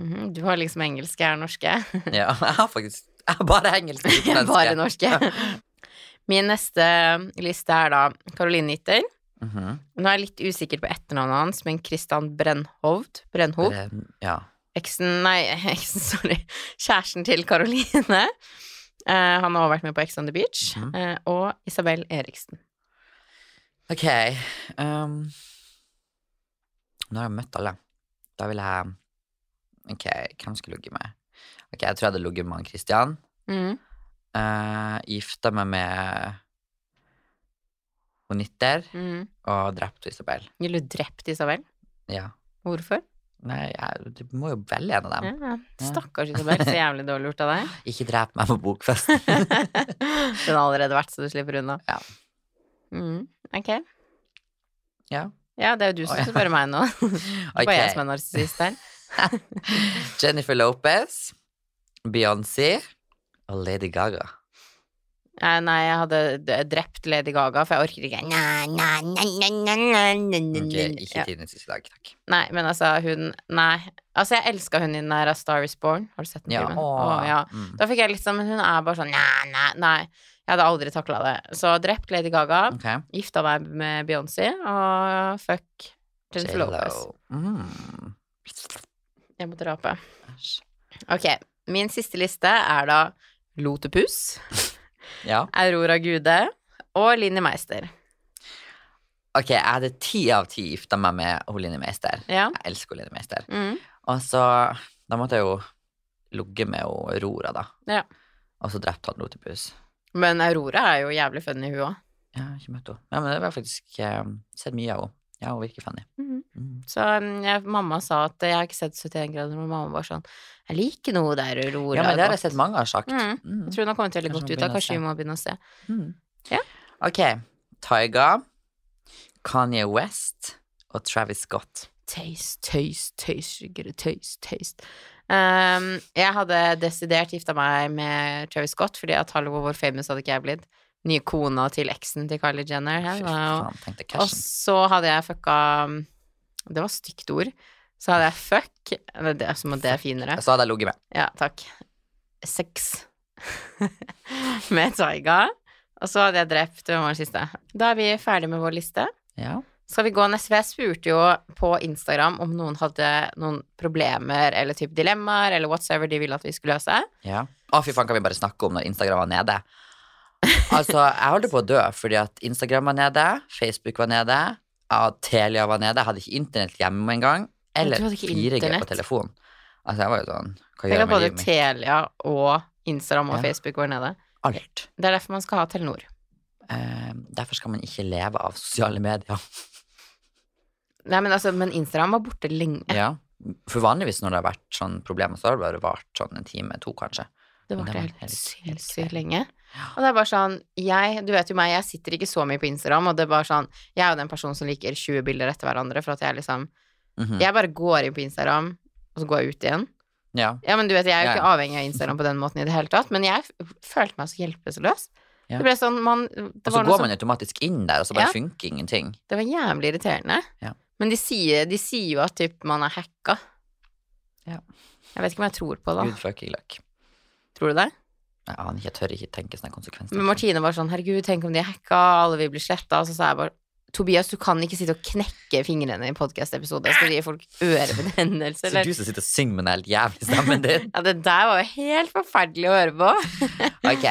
S1: Mhm. Du har liksom engelske, jeg er norske.
S2: Ja, jeg har faktisk jeg har bare engelsk og
S1: Jeg er bare
S2: utenlandske.
S1: norske. Min neste liste er da Caroline Nitter.
S2: Mhm.
S1: Nå er jeg litt usikker på etternavnet hans, men Christian Brennhovd. Brennhov.
S2: Brenn- Ja.
S1: Eksen, nei, eksen, sorry. Kjæresten til Caroline. Eh, han har også vært med på Ex on the Beach.
S2: Mhm.
S1: eh, og Isabel Eriksen.
S2: Ok. ehm, nå har jeg møtt alle. Da vil jeg Ok, hvem skal jeg ligge med? Ok, Jeg tror jeg hadde ligget med han Christian.
S1: Mhm.
S2: Uh, Gifta meg med hun Nitter
S1: Mhm.
S2: og drept Isabel.
S1: Ville du drept Isabel?
S2: Ja.
S1: Hvorfor?
S2: Nei, jeg du må jo velge en av dem.
S1: Ja. Stakkars Isabel, så jævlig dårlig gjort av deg.
S2: Ikke drep meg på bokfesten.
S1: Den har allerede vært, så du slipper unna.
S2: Ja.
S1: Mm, ok.
S2: Ja.
S1: Ja, det er jo du
S2: Å,
S1: som
S2: ja.
S1: skal spørre meg nå. Det er
S2: Ok.
S1: bare jeg som er narsissist her.
S2: Jennifer Lopez, Beyoncé og Lady Gaga.
S1: Eh, Nei, jeg hadde d- drept Lady Gaga, for jeg orker ikke Nei, nei, nei, nei, nei, nei, nei, nei,
S2: Ok,
S1: nei.
S2: ikke
S1: Ja.
S2: tidens siste dag, takk.
S1: Nei, men altså, hun Nei. Altså, jeg elska hun i den der A Star Is Born. Har du sett den
S2: Ja,
S1: filmen?
S2: åh,
S1: Å, ja.
S2: mm.
S1: Da fikk jeg litt sånn Men hun er bare sånn Nei, nei, nei. Jeg hadde aldri takla det. Så drept Lady Gaga,
S2: Ok.
S1: gifta meg med Beyoncé, og fuck Jennifer
S2: J.Lo.
S1: Lopez.
S2: Mm.
S1: Jeg måtte rape.
S2: Æsj.
S1: Ok, min siste liste er da Lotepus,
S2: Ja.
S1: Aurora Gude og Linni Meister.
S2: Ok, jeg hadde ti av ti gifta meg med hun Linni Meister.
S1: Ja.
S2: Jeg elsker hun Linni Meister.
S1: Mm.
S2: Og så Da måtte jeg jo ligge med hun Aurora, da.
S1: Ja.
S2: Og så drepte han Lotepus.
S1: Men Aurora er jo jævlig funny, hun òg.
S2: Jeg har ikke møtt henne. Ja, men det var faktisk eh, sett mye av henne. Ja, hun virker funny.
S1: Mhm.
S2: Mm.
S1: Så mm, jeg, mamma sa at jeg har ikke sett 71 grader, men mamma var sånn Jeg liker noe der Aurora
S2: Ja, men det har jeg
S1: godt.
S2: sett mange har sagt.
S1: Mm.
S2: Mm.
S1: Jeg tror hun har kommet veldig
S2: Kanskje
S1: godt
S2: hun
S1: ut av
S2: begynner å
S1: Kanskje
S2: se.
S1: vi må begynne å se.
S2: Mm.
S1: Ja.
S2: Ok. Tyga, Kanye West og Travis Scott.
S1: Tøys, tøys, tøys, sugar, tøys, tøys. Um, jeg hadde desidert gifta meg med Travis Scott, fordi at Hollywood War Famous hadde ikke jeg blitt. Nye kona til eksen til Kylie Jenner.
S2: Fy
S1: Her, var jo-
S2: faen, tenkte
S1: Og
S2: cashen.
S1: så hadde jeg fucka Det var stygt ord. Så hadde jeg fuck Det er det som at det er finere.
S2: Så hadde jeg ligget med.
S1: Ja, takk. Sex. med Taiga. Og så hadde jeg drept Hvem var den siste? Da er vi ferdig med vår liste.
S2: Ja.
S1: Skal vi gå neste? For jeg spurte jo på Instagram om noen hadde noen problemer eller typ dilemmaer eller whatsoever de ville at vi skulle løse.
S2: ja. Å, fy faen, kan vi bare snakke om når Instagram var nede? Altså, jeg holdt på å dø fordi at Instagram var nede, Facebook var nede, ja, Telia var nede, jeg hadde ikke internett hjemme engang, eller
S1: Du hadde ikke
S2: 4G
S1: internett?
S2: på telefon. Altså, jeg var jo sånn, hva
S1: Tenk
S2: gjør jeg
S1: at
S2: med
S1: både
S2: livet mitt?
S1: Telia og Instagram og
S2: Ja.
S1: Facebook går nede.
S2: Alt.
S1: Det er derfor man skal ha Telenor.
S2: Eh, derfor skal man ikke leve av sosiale medier.
S1: Nei, men, altså, men Instagram var borte lenge.
S2: Ja. For vanligvis når det har vært sånn problemer, så har det bare vart sånn en time, to kanskje.
S1: Det
S2: Men
S1: varte
S2: det var
S1: helt,
S2: helt- helt
S1: sinnssykt
S2: kvelden.
S1: lenge. Og det er bare sånn jeg, Du vet jo meg, jeg sitter ikke så mye på Instagram, og det er bare sånn Jeg er jo den personen som liker 20 bilder etter hverandre, for at jeg liksom
S2: Mhm.
S1: Jeg bare går inn på Instagram, og så går jeg ut igjen.
S2: Ja.
S1: Ja, men du vet, jeg er jo
S2: Ja,
S1: ikke avhengig av Instagram på den måten i det hele tatt, men jeg f- følte meg så hjelpeløs.
S2: Ja.
S1: Det ble sånn man
S2: Og
S1: Det
S2: så
S1: var
S2: går
S1: noe
S2: man
S1: som
S2: automatisk inn der, og så bare
S1: Ja.
S2: funker ingenting.
S1: Det var jævlig irriterende.
S2: Ja.
S1: Men de sier, de sier jo at typ man er hacka.
S2: Ja.
S1: Jeg vet ikke om jeg tror på det.
S2: Gud fucking luck.
S1: Tror du det?
S2: Jeg aner ikke, jeg tør ikke tenke sånne konsekvenser.
S1: Men Martine var sånn, herregud, tenk om de er hacka, alle vil bli sletta. Og så sa jeg bare, Tobias, du kan ikke sitte og knekke fingrene i podkast-episoder. Skal du gi folk ørebetennelse,
S2: så
S1: eller?
S2: du som sitter og synger med den helt jævlig stemmen din.
S1: Ja, det der var jo helt forferdelig å høre på.
S2: Ok,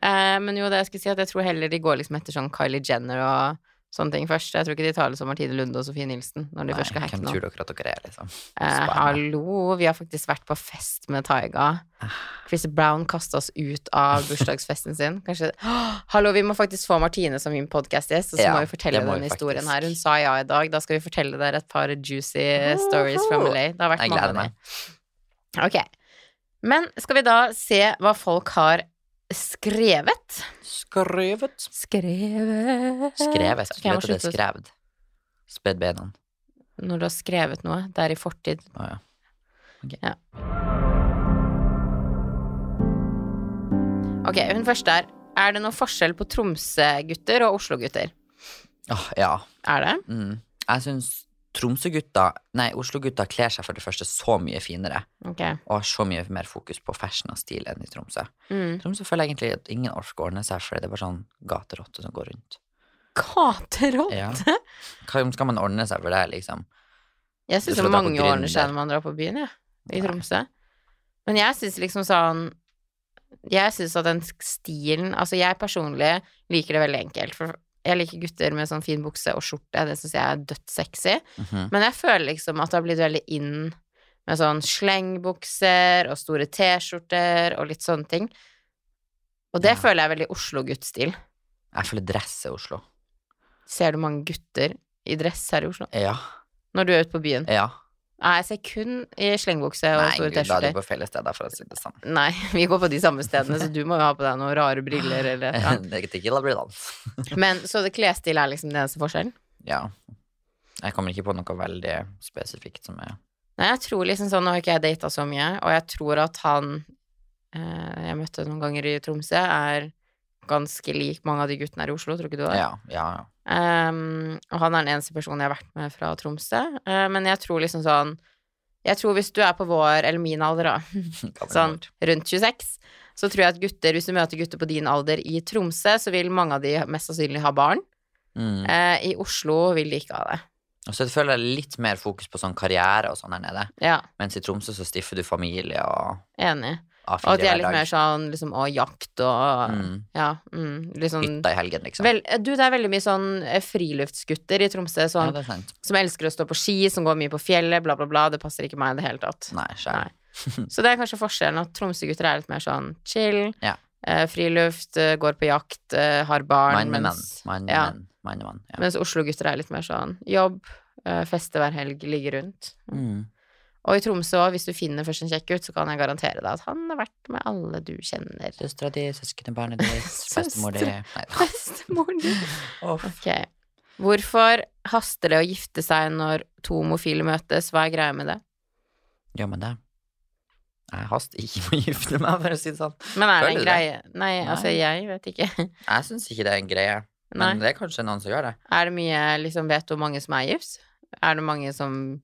S1: Eh, men jo, det jeg skulle si, at jeg tror heller de går liksom etter sånn Kylie Jenner og sånne ting først. Jeg tror ikke de tar det som Martine Lunde og Sofie Nilsen når de
S2: Nei,
S1: først skal hacke
S2: hvem
S1: noe.
S2: tror dere at dere er, liksom?
S1: Eh,
S2: Spennende.
S1: hallo, vi har faktisk vært på fest med Taiga.
S2: Ah.
S1: Chris Brown kasta oss ut av bursdagsfesten sin. Kanskje Åh, Hallo, vi må faktisk få Martine som min podkastgjest, og så
S2: Ja,
S1: må vi fortelle
S2: det må
S1: denne
S2: vi
S1: historien
S2: faktisk.
S1: her. Hun sa ja i dag. Da skal vi fortelle dere et par juicy stories from LA. Det har vært
S2: Jeg
S1: mange
S2: gleder
S1: av de. Ok. Men skal vi da se hva folk har skrevet?
S2: Skrevet.
S1: Skrevet
S2: Skrevet,
S1: Ok,
S2: du
S1: jeg må
S2: vet at det er
S1: slutte å-
S2: skrevet. Spedd beina.
S1: når du har skrevet noe. Det er i fortid.
S2: Å ja. Ok.
S1: Ja. Ok, hun første er Er det noen forskjell på Tromsø-gutter og Oslo-gutter?
S2: Åh, ja.
S1: Er det?
S2: Mm. Jeg syns Tromsø-gutta, nei, Oslo-gutta kler seg for det første så mye finere
S1: Ok.
S2: og har så mye mer fokus på fashion og stil enn i Tromsø.
S1: Mm.
S2: Tromsø føler jeg egentlig at ingen orker å ordne seg, for det er bare sånn gaterotte som går rundt.
S1: Katerotte!
S2: Ja. Hva skal man ordne seg for det, liksom?
S1: Jeg syns
S2: Du slår deg på
S1: mange
S2: grunn
S1: ordner seg
S2: der.
S1: når man drar på byen, jeg. I
S2: Nei.
S1: Tromsø. Men jeg syns liksom sånn Jeg syns at den stilen Altså, jeg personlig liker det veldig enkelt. For jeg liker gutter med sånn fin bukse og skjorte. Det syns jeg er dødssexy.
S2: Mhm.
S1: Men jeg føler liksom at det har blitt veldig inn med sånn slengbukser og store T-skjorter og litt sånne ting. Og det
S2: Ja.
S1: føler jeg er veldig Oslo-guttstil.
S2: Jeg føler dress er Oslo.
S1: Ser du mange gutter i dress her i Oslo?
S2: Ja.
S1: Når du er ute på byen?
S2: ja.
S1: Nei, jeg ser kun i slengbukse og
S2: Nei,
S1: store
S2: gud, da er
S1: T-skjorter.
S2: du på feil sted, for å si det sånn.
S1: Nei, vi går på de samme stedene, så du må jo ha på deg noen rare briller eller et eller
S2: det er ikke tequila blir dans.
S1: annet. Men så det klesstil er liksom den eneste forskjellen?
S2: Ja. Jeg kommer ikke på noe veldig spesifikt som er
S1: Nei, jeg tror liksom sånn, nå har ikke jeg data så mye, og jeg tror at han eh, jeg møtte noen ganger i Tromsø, er ganske lik mange av de guttene her i Oslo, tror ikke du det?
S2: Ja, ja, ja.
S1: Ehm, og han er den eneste personen jeg har vært med fra Tromsø. Eh, men jeg tror liksom sånn Jeg tror hvis du er på vår, eller min alder, da,
S2: Hva blir
S1: sånn
S2: det?
S1: rundt 26, så tror jeg at gutter, hvis du møter gutter på din alder i Tromsø, så vil mange av de mest sannsynlig ha barn.
S2: Mm.
S1: Eh, I Oslo vil de ikke ha det.
S2: Og så føler jeg litt mer fokus på sånn karriere og sånn her nede.
S1: Ja,
S2: Mens i Tromsø så stiffer du familie og
S1: enig. Og
S2: A4
S1: at de er
S2: hver
S1: litt mer
S2: dag.
S1: sånn liksom å, jakt og
S2: Mm.
S1: Ja, mm, litt sånn
S2: Hytta i helgen, liksom.
S1: Vel, du, det er veldig mye sånn eh, friluftsgutter i Tromsø
S2: ja,
S1: sånn,
S2: det er sant.
S1: som elsker å stå på ski, som går mye på fjellet, bla, bla, bla. Det passer ikke meg i det hele tatt.
S2: Nei, skjær. Mm.
S1: Så det er kanskje forskjellen at tromsøgutter er litt mer sånn chill,
S2: Ja.
S1: eh, friluft, eh, går på jakt, eh, har barn,
S2: Mann med menn.
S1: mens,
S2: Mann
S1: ja.
S2: med menn. Mann med menn. Ja.
S1: mens Oslo-gutter er litt mer sånn jobb, eh, feste hver helg, ligge rundt.
S2: Mm.
S1: Og i Tromsø òg, hvis du finner først en kjekk gutt, så kan jeg garantere deg at han har vært med alle du kjenner.
S2: Søstera di, søskenbarnet ditt, bestemor di
S1: Søstre.
S2: Nei da.
S1: Bestemoren din.
S2: Uff.
S1: Ok. Hvorfor haster det å gifte seg når to homofile møtes? Hva er greia med det?
S2: Gjør man det? Jeg haster ikke med å gifte meg, for å si det sånn.
S1: Men er det
S2: Føler
S1: en
S2: du det?
S1: greie? Nei, altså,
S2: Nei.
S1: jeg vet ikke.
S2: Jeg syns ikke det er en greie,
S1: Nei.
S2: men det er kanskje noen som gjør det.
S1: Er det mye liksom Vet du hvor mange som er gift? Er det mange som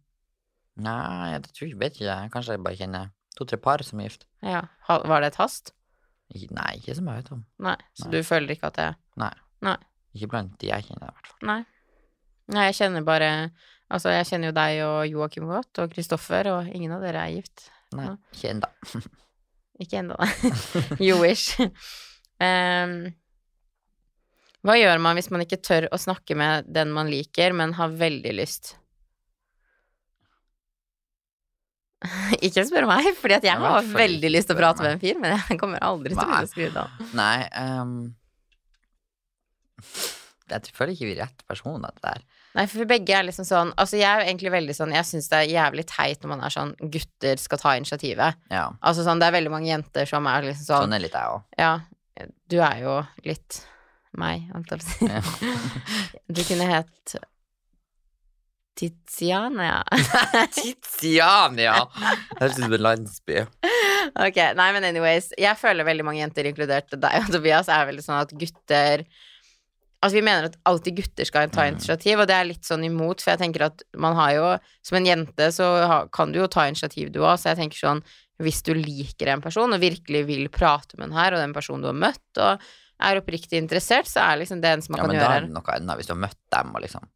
S2: Nei, jeg tror, vet ikke. jeg. Kanskje jeg bare kjenner to-tre par som er gift.
S1: Ja. ha- Var det et hast?
S2: Ikke- Nei, ikke som jeg vet om.
S1: Nei. Så
S2: Nei.
S1: du føler ikke at det
S2: Ikke blant de jeg kjenner, i hvert fall.
S1: Nei. Nei, jeg kjenner bare Altså, jeg kjenner jo deg og Joakim godt, og Kristoffer, og ingen av dere er gift.
S2: Nei,
S1: Nei.
S2: ikke ennå.
S1: Ikke ennå, nei. You wish. Em, hva gjør man hvis man ikke tør å snakke med den man liker, men har veldig lyst? ikke spør meg, fordi at jeg
S2: Ja, men
S1: har
S2: hvorfor
S1: veldig
S2: ikke
S1: lyst til å
S2: spør
S1: prate med
S2: meg?
S1: en fyr, men jeg kommer aldri til
S2: Nei.
S1: å skrive det av.
S2: Nei, ehm, jeg tror- føler ikke vi er rett person til det der.
S1: Nei, for begge er liksom sånn Altså, jeg er jo egentlig veldig sånn Jeg syns det er jævlig teit når man er sånn gutter skal ta initiativet.
S2: Ja,
S1: Altså sånn, det er veldig mange jenter som er liksom sånn
S2: sånn er litt jeg òg.
S1: Ja, du er jo litt meg, holdt jeg på å si. Du kunne hett Tiziana.
S2: Tiziania! Høres ut som en landsby.
S1: Ok, nei, men anyways. Jeg føler veldig mange jenter, inkludert deg og Tobias, er veldig sånn at gutter Altså, vi mener at alltid gutter skal ta
S2: Mm.
S1: initiativ, og det er litt sånn imot, for jeg tenker at man har jo Som en jente så ha- kan du jo ta initiativ, du òg, så jeg tenker sånn Hvis du liker en person og virkelig vil prate med den her, og den personen du har møtt, og er oppriktig interessert, så er liksom det eneste man
S2: Ja,
S1: kan
S2: men
S1: gjøre
S2: da er
S1: her.
S2: det noe annet hvis du har møtt dem og liksom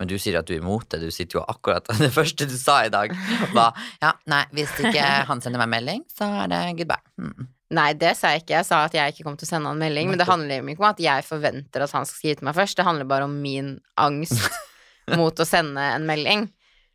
S2: men du sier at du er imot det. Du sitter jo akkurat Det første du sa i dag, var ja, nei, hvis ikke han sender meg melding, så er det goodbye. Mm.
S1: Nei, det sa jeg ikke. Jeg sa at jeg ikke kom til å sende han melding. Men det
S2: Nettopp.
S1: handler jo ikke om at jeg forventer at han skal skrive til meg først. Det handler bare om min angst mot å sende en melding.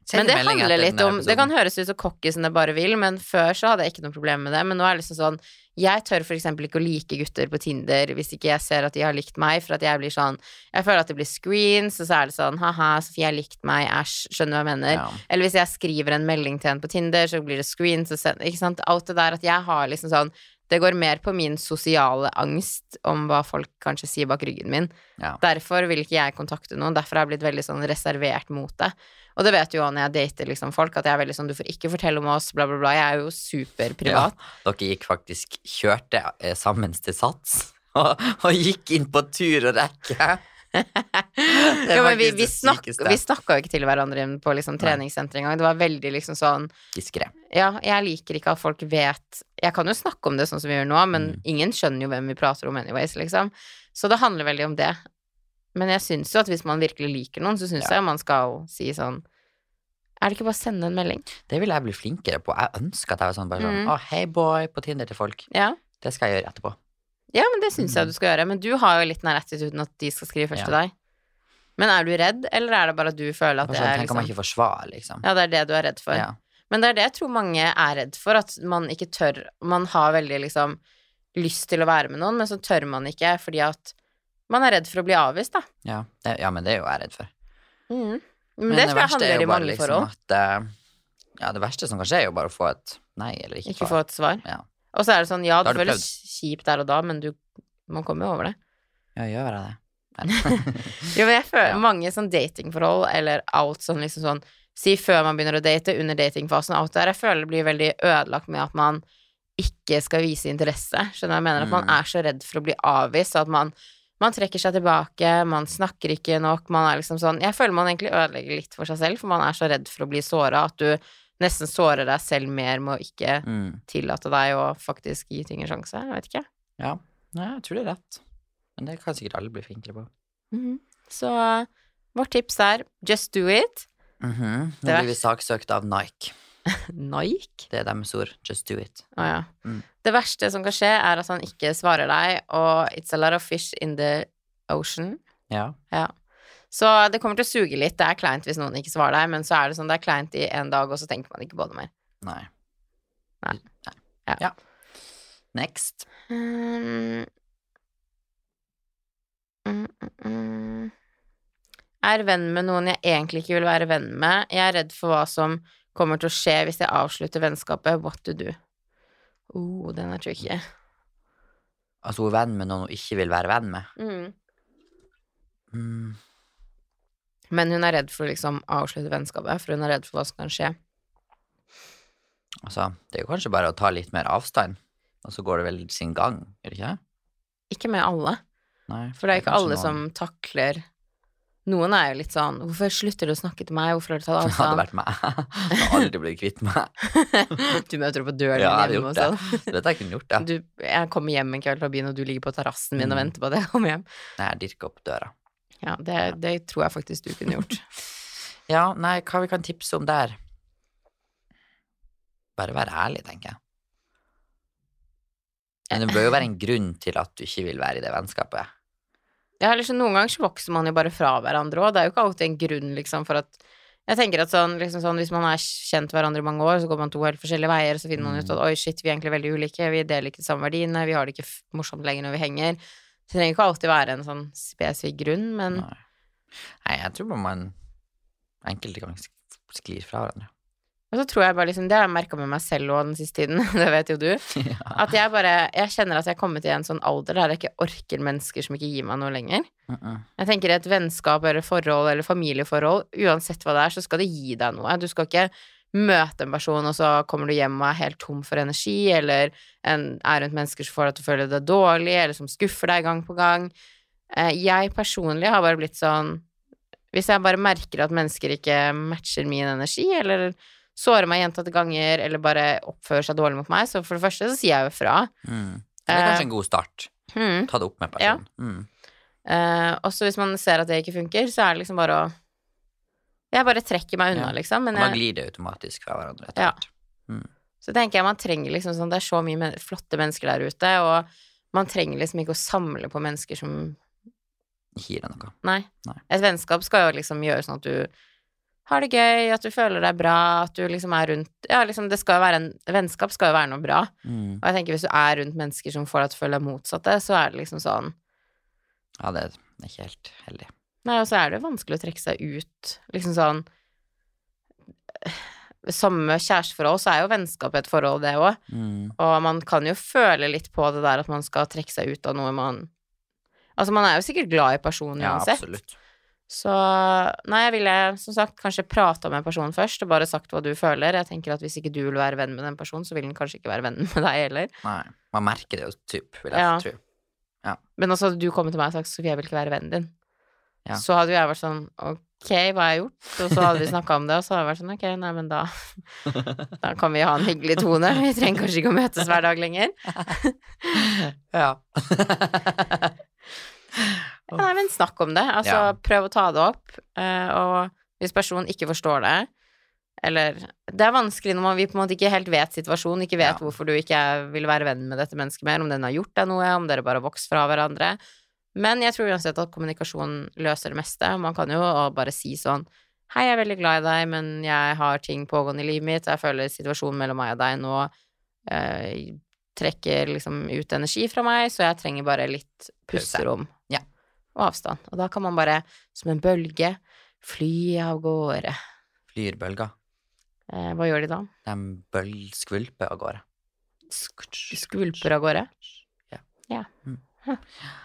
S2: Send
S1: Men det
S2: melding
S1: handler
S2: etter
S1: litt
S2: denne
S1: om Det kan
S2: episoden.
S1: høres ut så cocky som det bare vil, men før så hadde jeg ikke noe problem med det. Men nå er det liksom sånn Jeg tør for eksempel ikke å like gutter på Tinder hvis ikke jeg ser at de har likt meg, for at jeg blir sånn Jeg føler at det blir screens, og så er det sånn Ha-ha, Sofie har likt meg, æsj. Skjønner du hva jeg mener?
S2: Ja.
S1: Eller hvis jeg skriver en melding til en på Tinder, så blir det screens og send, Ikke sant? Alt det der at jeg har liksom sånn Det går mer på min sosiale angst om hva folk kanskje sier bak ryggen min.
S2: Ja.
S1: Derfor vil ikke jeg kontakte noen. Derfor har jeg blitt veldig sånn reservert mot det. Og det vet jo også når jeg dater liksom folk, at jeg er veldig sånn du får ikke fortelle om oss, bla, bla, bla. Jeg er jo superprivat.
S2: Dere gikk faktisk kjørte eh, sammen til sats. Og, og gikk inn på tur og rekke.
S1: Jo, men vi, vi, snakk, vi snakka jo ikke til hverandre på liksom, treningssenteret engang. Det var veldig liksom sånn
S2: Diskré.
S1: Ja, jeg liker ikke at folk vet Jeg kan jo snakke om det sånn som vi gjør nå, men
S2: Mm.
S1: ingen skjønner jo hvem vi prater om anyways, liksom. Så det handler veldig om det. Men jeg syns jo at hvis man virkelig liker noen, så syns
S2: Ja.
S1: jeg man skal si sånn Er det ikke bare å sende en melding?
S2: Det vil jeg bli flinkere på. Jeg ønsker at jeg var sånn bare sånn
S1: Mm.
S2: Å, hei, boy, på Tinder til folk.
S1: Ja,
S2: Det skal jeg gjøre etterpå.
S1: ja men det syns jeg du skal gjøre. Men du har jo litt den her attituden at de skal skrive først
S2: Mm. Ja.
S1: til deg. Men er du redd, eller er det bare at du føler at det
S2: Bare sånn,
S1: er
S2: tenk om
S1: liksom
S2: jeg ikke får svar, liksom.
S1: Ja, det er det du er redd for.
S2: Ja.
S1: Men det er det jeg tror mange er redd for, at man ikke tør Man har veldig liksom lyst til å være med noen, men så tør man ikke fordi at man er redd for å bli avvist, da.
S2: Ja. Det, ja, men det er jo jeg redd for.
S1: Men, det tror jeg
S2: Mm. verste er jo
S1: handler i
S2: bare
S1: mange
S2: liksom
S1: forhold.
S2: At, eh, ja, det verste som kan skje, er jo bare å få et nei eller ikke,
S1: Ikke
S2: svar.
S1: få et svar.
S2: Ja.
S1: Og så er det sånn, ja,
S2: Da har
S1: det
S2: du
S1: føles kjipt der og da, men du man kommer jo over det.
S2: Ja, gjør jeg det? Nei.
S1: Jo, men jeg føler
S2: Ja.
S1: mange sånn datingforhold, eller alt sånn liksom sånn Si før man begynner å date, under datingfasen, alt det der. Jeg føler det blir veldig ødelagt med at man ikke skal vise interesse. Skjønner du hva jeg mener? At man
S2: Mm.
S1: er så redd for å bli avvist, og at man, man trekker seg tilbake, man snakker ikke nok, man er liksom sånn Jeg føler man egentlig ødelegger litt for seg selv, for man er så redd for å bli såra at du nesten sårer deg selv mer med å ikke
S2: mm.
S1: tillate deg å faktisk gi ting en sjanse. Jeg vet ikke.
S2: Ja, Nei, jeg tror det er rett. Men det kan sikkert alle bli flinkere på.
S1: Mhm.
S2: Mm-hmm.
S1: Så vårt tips er just do it.
S2: Mhm. Nå
S1: Det er-
S2: blir vi saksøkt av Nike.
S1: Nike.
S2: Det er deres ord. Just do it.
S1: Å ja.
S2: Mm.
S1: Det verste som kan skje, er at han ikke svarer deg, og it's a lot of fish in the ocean.
S2: Ja.
S1: Så det kommer til å suge litt. Det er kleint hvis noen ikke svarer deg, men så er det sånn det er kleint i en dag, og så tenker man ikke på det mer.
S2: Nei.
S1: Nei. Ja.
S2: Ja. Next.
S1: Mm. Mm, mm, mm. Er venn med noen jeg egentlig ikke vil være venn med. Jeg er redd for hva som kommer til å skje hvis jeg avslutter vennskapet. What to do? Oh, den er tricky.
S2: Altså, hun er venn med noen hun ikke vil være venn med.
S1: Mm.
S2: Mm.
S1: Men hun er redd for å liksom avslutte vennskapet, for hun er redd for hva som kan skje.
S2: Altså, det er jo kanskje bare å ta litt mer avstand, og så går det vel sin gang, gjør det ikke? det?
S1: Ikke med alle,
S2: Nei,
S1: for det er ikke
S2: kanskje
S1: alle
S2: noen-
S1: som takler Noen er jo litt sånn 'Hvorfor slutter du å snakke til meg? Hvorfor har du tatt
S2: Det hadde
S1: avstand?'
S2: vært meg. Jeg har aldri blitt kvitt meg.
S1: du møter opp på døren
S2: Ja,
S1: min
S2: jeg
S1: hjemme og
S2: hadde gjort
S1: sånn.
S2: Så dette har jeg kunnet gjort, det.
S1: Du, jeg kommer hjem en kveld fra byen, og du ligger på terrassen min og
S2: Mm.
S1: venter på at jeg kommer hjem.
S2: Nei, jeg dirker opp døra.
S1: Ja, det, det tror jeg faktisk du kunne gjort.
S2: Ja, nei, hva vi kan tipse om der? Bare være ærlig, tenker jeg. Men det bør jo være en grunn til at du ikke vil være i det vennskapet.
S1: Ja, eller så noen ganger så vokser man jo bare fra hverandre òg. Det er jo ikke alltid en grunn, liksom, for at Jeg tenker at sånn, liksom sånn hvis man er kjent hverandre i mange år, så går man to helt forskjellige veier, så finner man ut at oi, shit, vi er egentlig veldig ulike, vi deler ikke de samme verdiene, vi har det ikke f morsomt lenger når vi henger. Så det trenger ikke alltid være en sånn spesifikk grunn, men
S2: Nei, nei jeg tror bare man enkelte ganger sk- sklir fra hverandre.
S1: Og så tror jeg bare liksom Det har jeg merka med meg selv òg den siste tiden, det vet jo du.
S2: ja.
S1: At jeg bare Jeg kjenner at jeg er kommet i en sånn alder der jeg ikke orker mennesker som ikke gir meg noe lenger.
S2: Mm -mm.
S1: Jeg tenker et vennskap eller forhold eller familieforhold, uansett hva det er, så skal det gi deg noe. Du skal ikke møte en person, og så kommer du hjem og er helt tom for energi, eller en, er rundt mennesker som får deg til å føle deg dårlig, eller som skuffer deg gang på gang. Eh, Jeg personlig har bare blitt sånn Hvis jeg bare merker at mennesker ikke matcher min energi, eller sårer meg gjentatte ganger, eller bare oppfører seg dårlig mot meg, så for det første så sier jeg jo fra.
S2: Mm. Det er kanskje en god start.
S1: Hmm.
S2: Ta det opp med
S1: Ja.
S2: personen. Mm.
S1: Eh, også hvis man ser at det ikke funker, så er det liksom bare å Jeg bare trekker meg unna,
S2: Ja.
S1: liksom.
S2: Og
S1: Men
S2: da
S1: jeg,
S2: glir det automatisk fra hverandre etter
S1: Ja.
S2: hvert.
S1: så tenker jeg man trenger liksom sånn Det er så mye men flotte mennesker der ute, og man trenger liksom ikke å samle på mennesker som
S2: Ikke gir det noe.
S1: Nei.
S2: Nei.
S1: Et vennskap skal jo liksom gjøre sånn at du har det gøy, at du føler deg bra, at du liksom er rundt Ja, liksom, det skal jo være en Vennskap skal jo være noe bra.
S2: Mm.
S1: Og jeg tenker hvis du er rundt mennesker som får deg til å føle deg motsatte, så er det liksom sånn
S2: Ja, det er ikke helt heldig.
S1: Nei, og så er det jo vanskelig å trekke seg ut. Liksom sånn samme kjæresteforhold, så er jo vennskap et forhold, det òg.
S2: Mm.
S1: Og man kan jo føle litt på det der at man skal trekke seg ut av noe man Altså, man er jo sikkert glad i personen
S2: Ja,
S1: uansett.
S2: absolutt.
S1: Så nei, jeg ville som sagt kanskje prata med en person først, og bare sagt hva du føler. Jeg tenker at hvis ikke du vil være venn med den personen, så vil den kanskje ikke være venn med deg heller.
S2: Nei. Man merker det jo, typ, vil jeg
S1: Ja.
S2: tro.
S1: Men også hadde du kommet til meg og sagt Sofie, jeg vil ikke være vennen din.
S2: Ja.
S1: Så hadde jo jeg vært sånn ok, hva har jeg gjort? Og så hadde vi snakka om det, og så hadde jeg vært sånn ok, nei, men da Da kan vi ha en hyggelig tone. Vi trenger kanskje ikke å møtes hver dag lenger.
S2: Ja.
S1: Ja, Nei, men snakk om det. Altså,
S2: Ja.
S1: prøv å ta det opp. eh, og hvis personen ikke forstår det, eller Det er vanskelig når man, vi på en måte ikke helt vet situasjonen, ikke vet
S2: Ja.
S1: hvorfor du ikke er- vil være venn med dette mennesket mer, om den har gjort deg noe, om dere bare har vokst fra hverandre. Men jeg tror uansett at kommunikasjon løser det meste. Man kan jo og bare si sånn Hei, jeg er veldig glad i deg, men jeg har ting pågående i livet mitt. Jeg føler situasjonen mellom meg og deg nå eh, trekker liksom ut energi fra meg, så jeg trenger bare litt pusterom
S2: Ja.
S1: og avstand. Og da kan man bare, som en bølge, fly av gårde.
S2: Flyr bølger.
S1: Eh, hva gjør de da?
S2: De bøl- skvulper av gårde.
S1: Skvulper av gårde?
S2: Ja.
S1: Ja.
S2: Mm.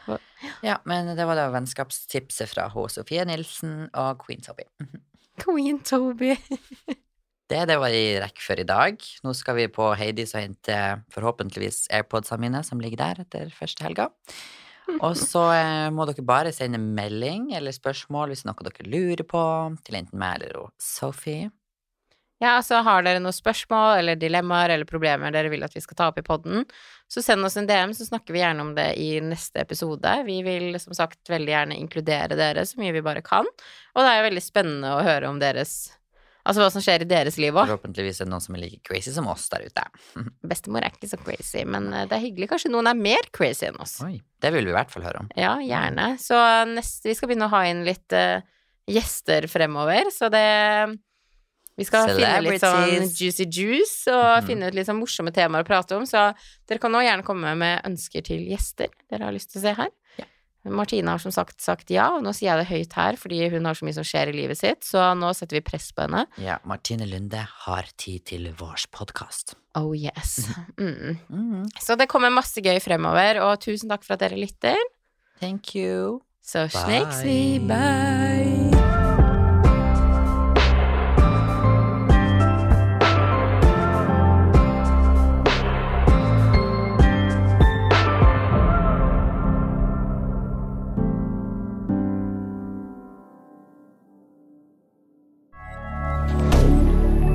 S1: Hva-
S2: ja, men det var da vennskapstipset fra H. Sofie Nilsen og Queen Sophie.
S1: Queen Toby.
S2: Det, det var i rekk for i dag. Nå skal vi på Heidis og hente forhåpentligvis AirPodsene mine, som ligger der etter første helga. Og så eh, må dere bare sende melding eller spørsmål hvis det er noe dere lurer på, til enten meg eller hun Sophie.
S1: Ja, altså har dere noen spørsmål eller dilemmaer eller problemer dere vil at vi skal ta opp i podden, så send oss en DM, så snakker vi gjerne om det i neste episode. Vi vil som sagt veldig gjerne inkludere dere så mye vi bare kan, og det er jo veldig spennende å høre om deres Altså hva som skjer i deres liv òg.
S2: Forhåpentligvis er det noen som er like crazy som oss der ute.
S1: Bestemor er ikke så crazy, men eh, det er hyggelig. Kanskje noen er mer crazy enn oss.
S2: Oi. Det vil vi i hvert fall høre om.
S1: Ja, gjerne. Så neste, vi skal begynne å ha inn litt eh, gjester fremover, så det Vi skal finne litt sånn
S2: Celebrities.
S1: juicy juice og
S2: Mhm.
S1: finne ut litt sånn morsomme temaer å prate om, så dere kan nå gjerne komme med ønsker til gjester dere har lyst til å se her.
S2: Ja.
S1: Martine har som sagt sagt ja, og nå sier jeg det høyt her fordi hun har så mye som skjer i livet sitt, så nå setter vi press på henne.
S2: Ja, Martine Lunde har tid til vårs podkast.
S1: Oh yes.
S2: Mm-hmm.
S1: Mm. Så det kommer masse gøy fremover, og tusen takk for at dere lytter.
S2: Thank you.
S1: Så
S2: Bye.
S1: snakes vi, bye!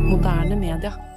S3: Moderne media.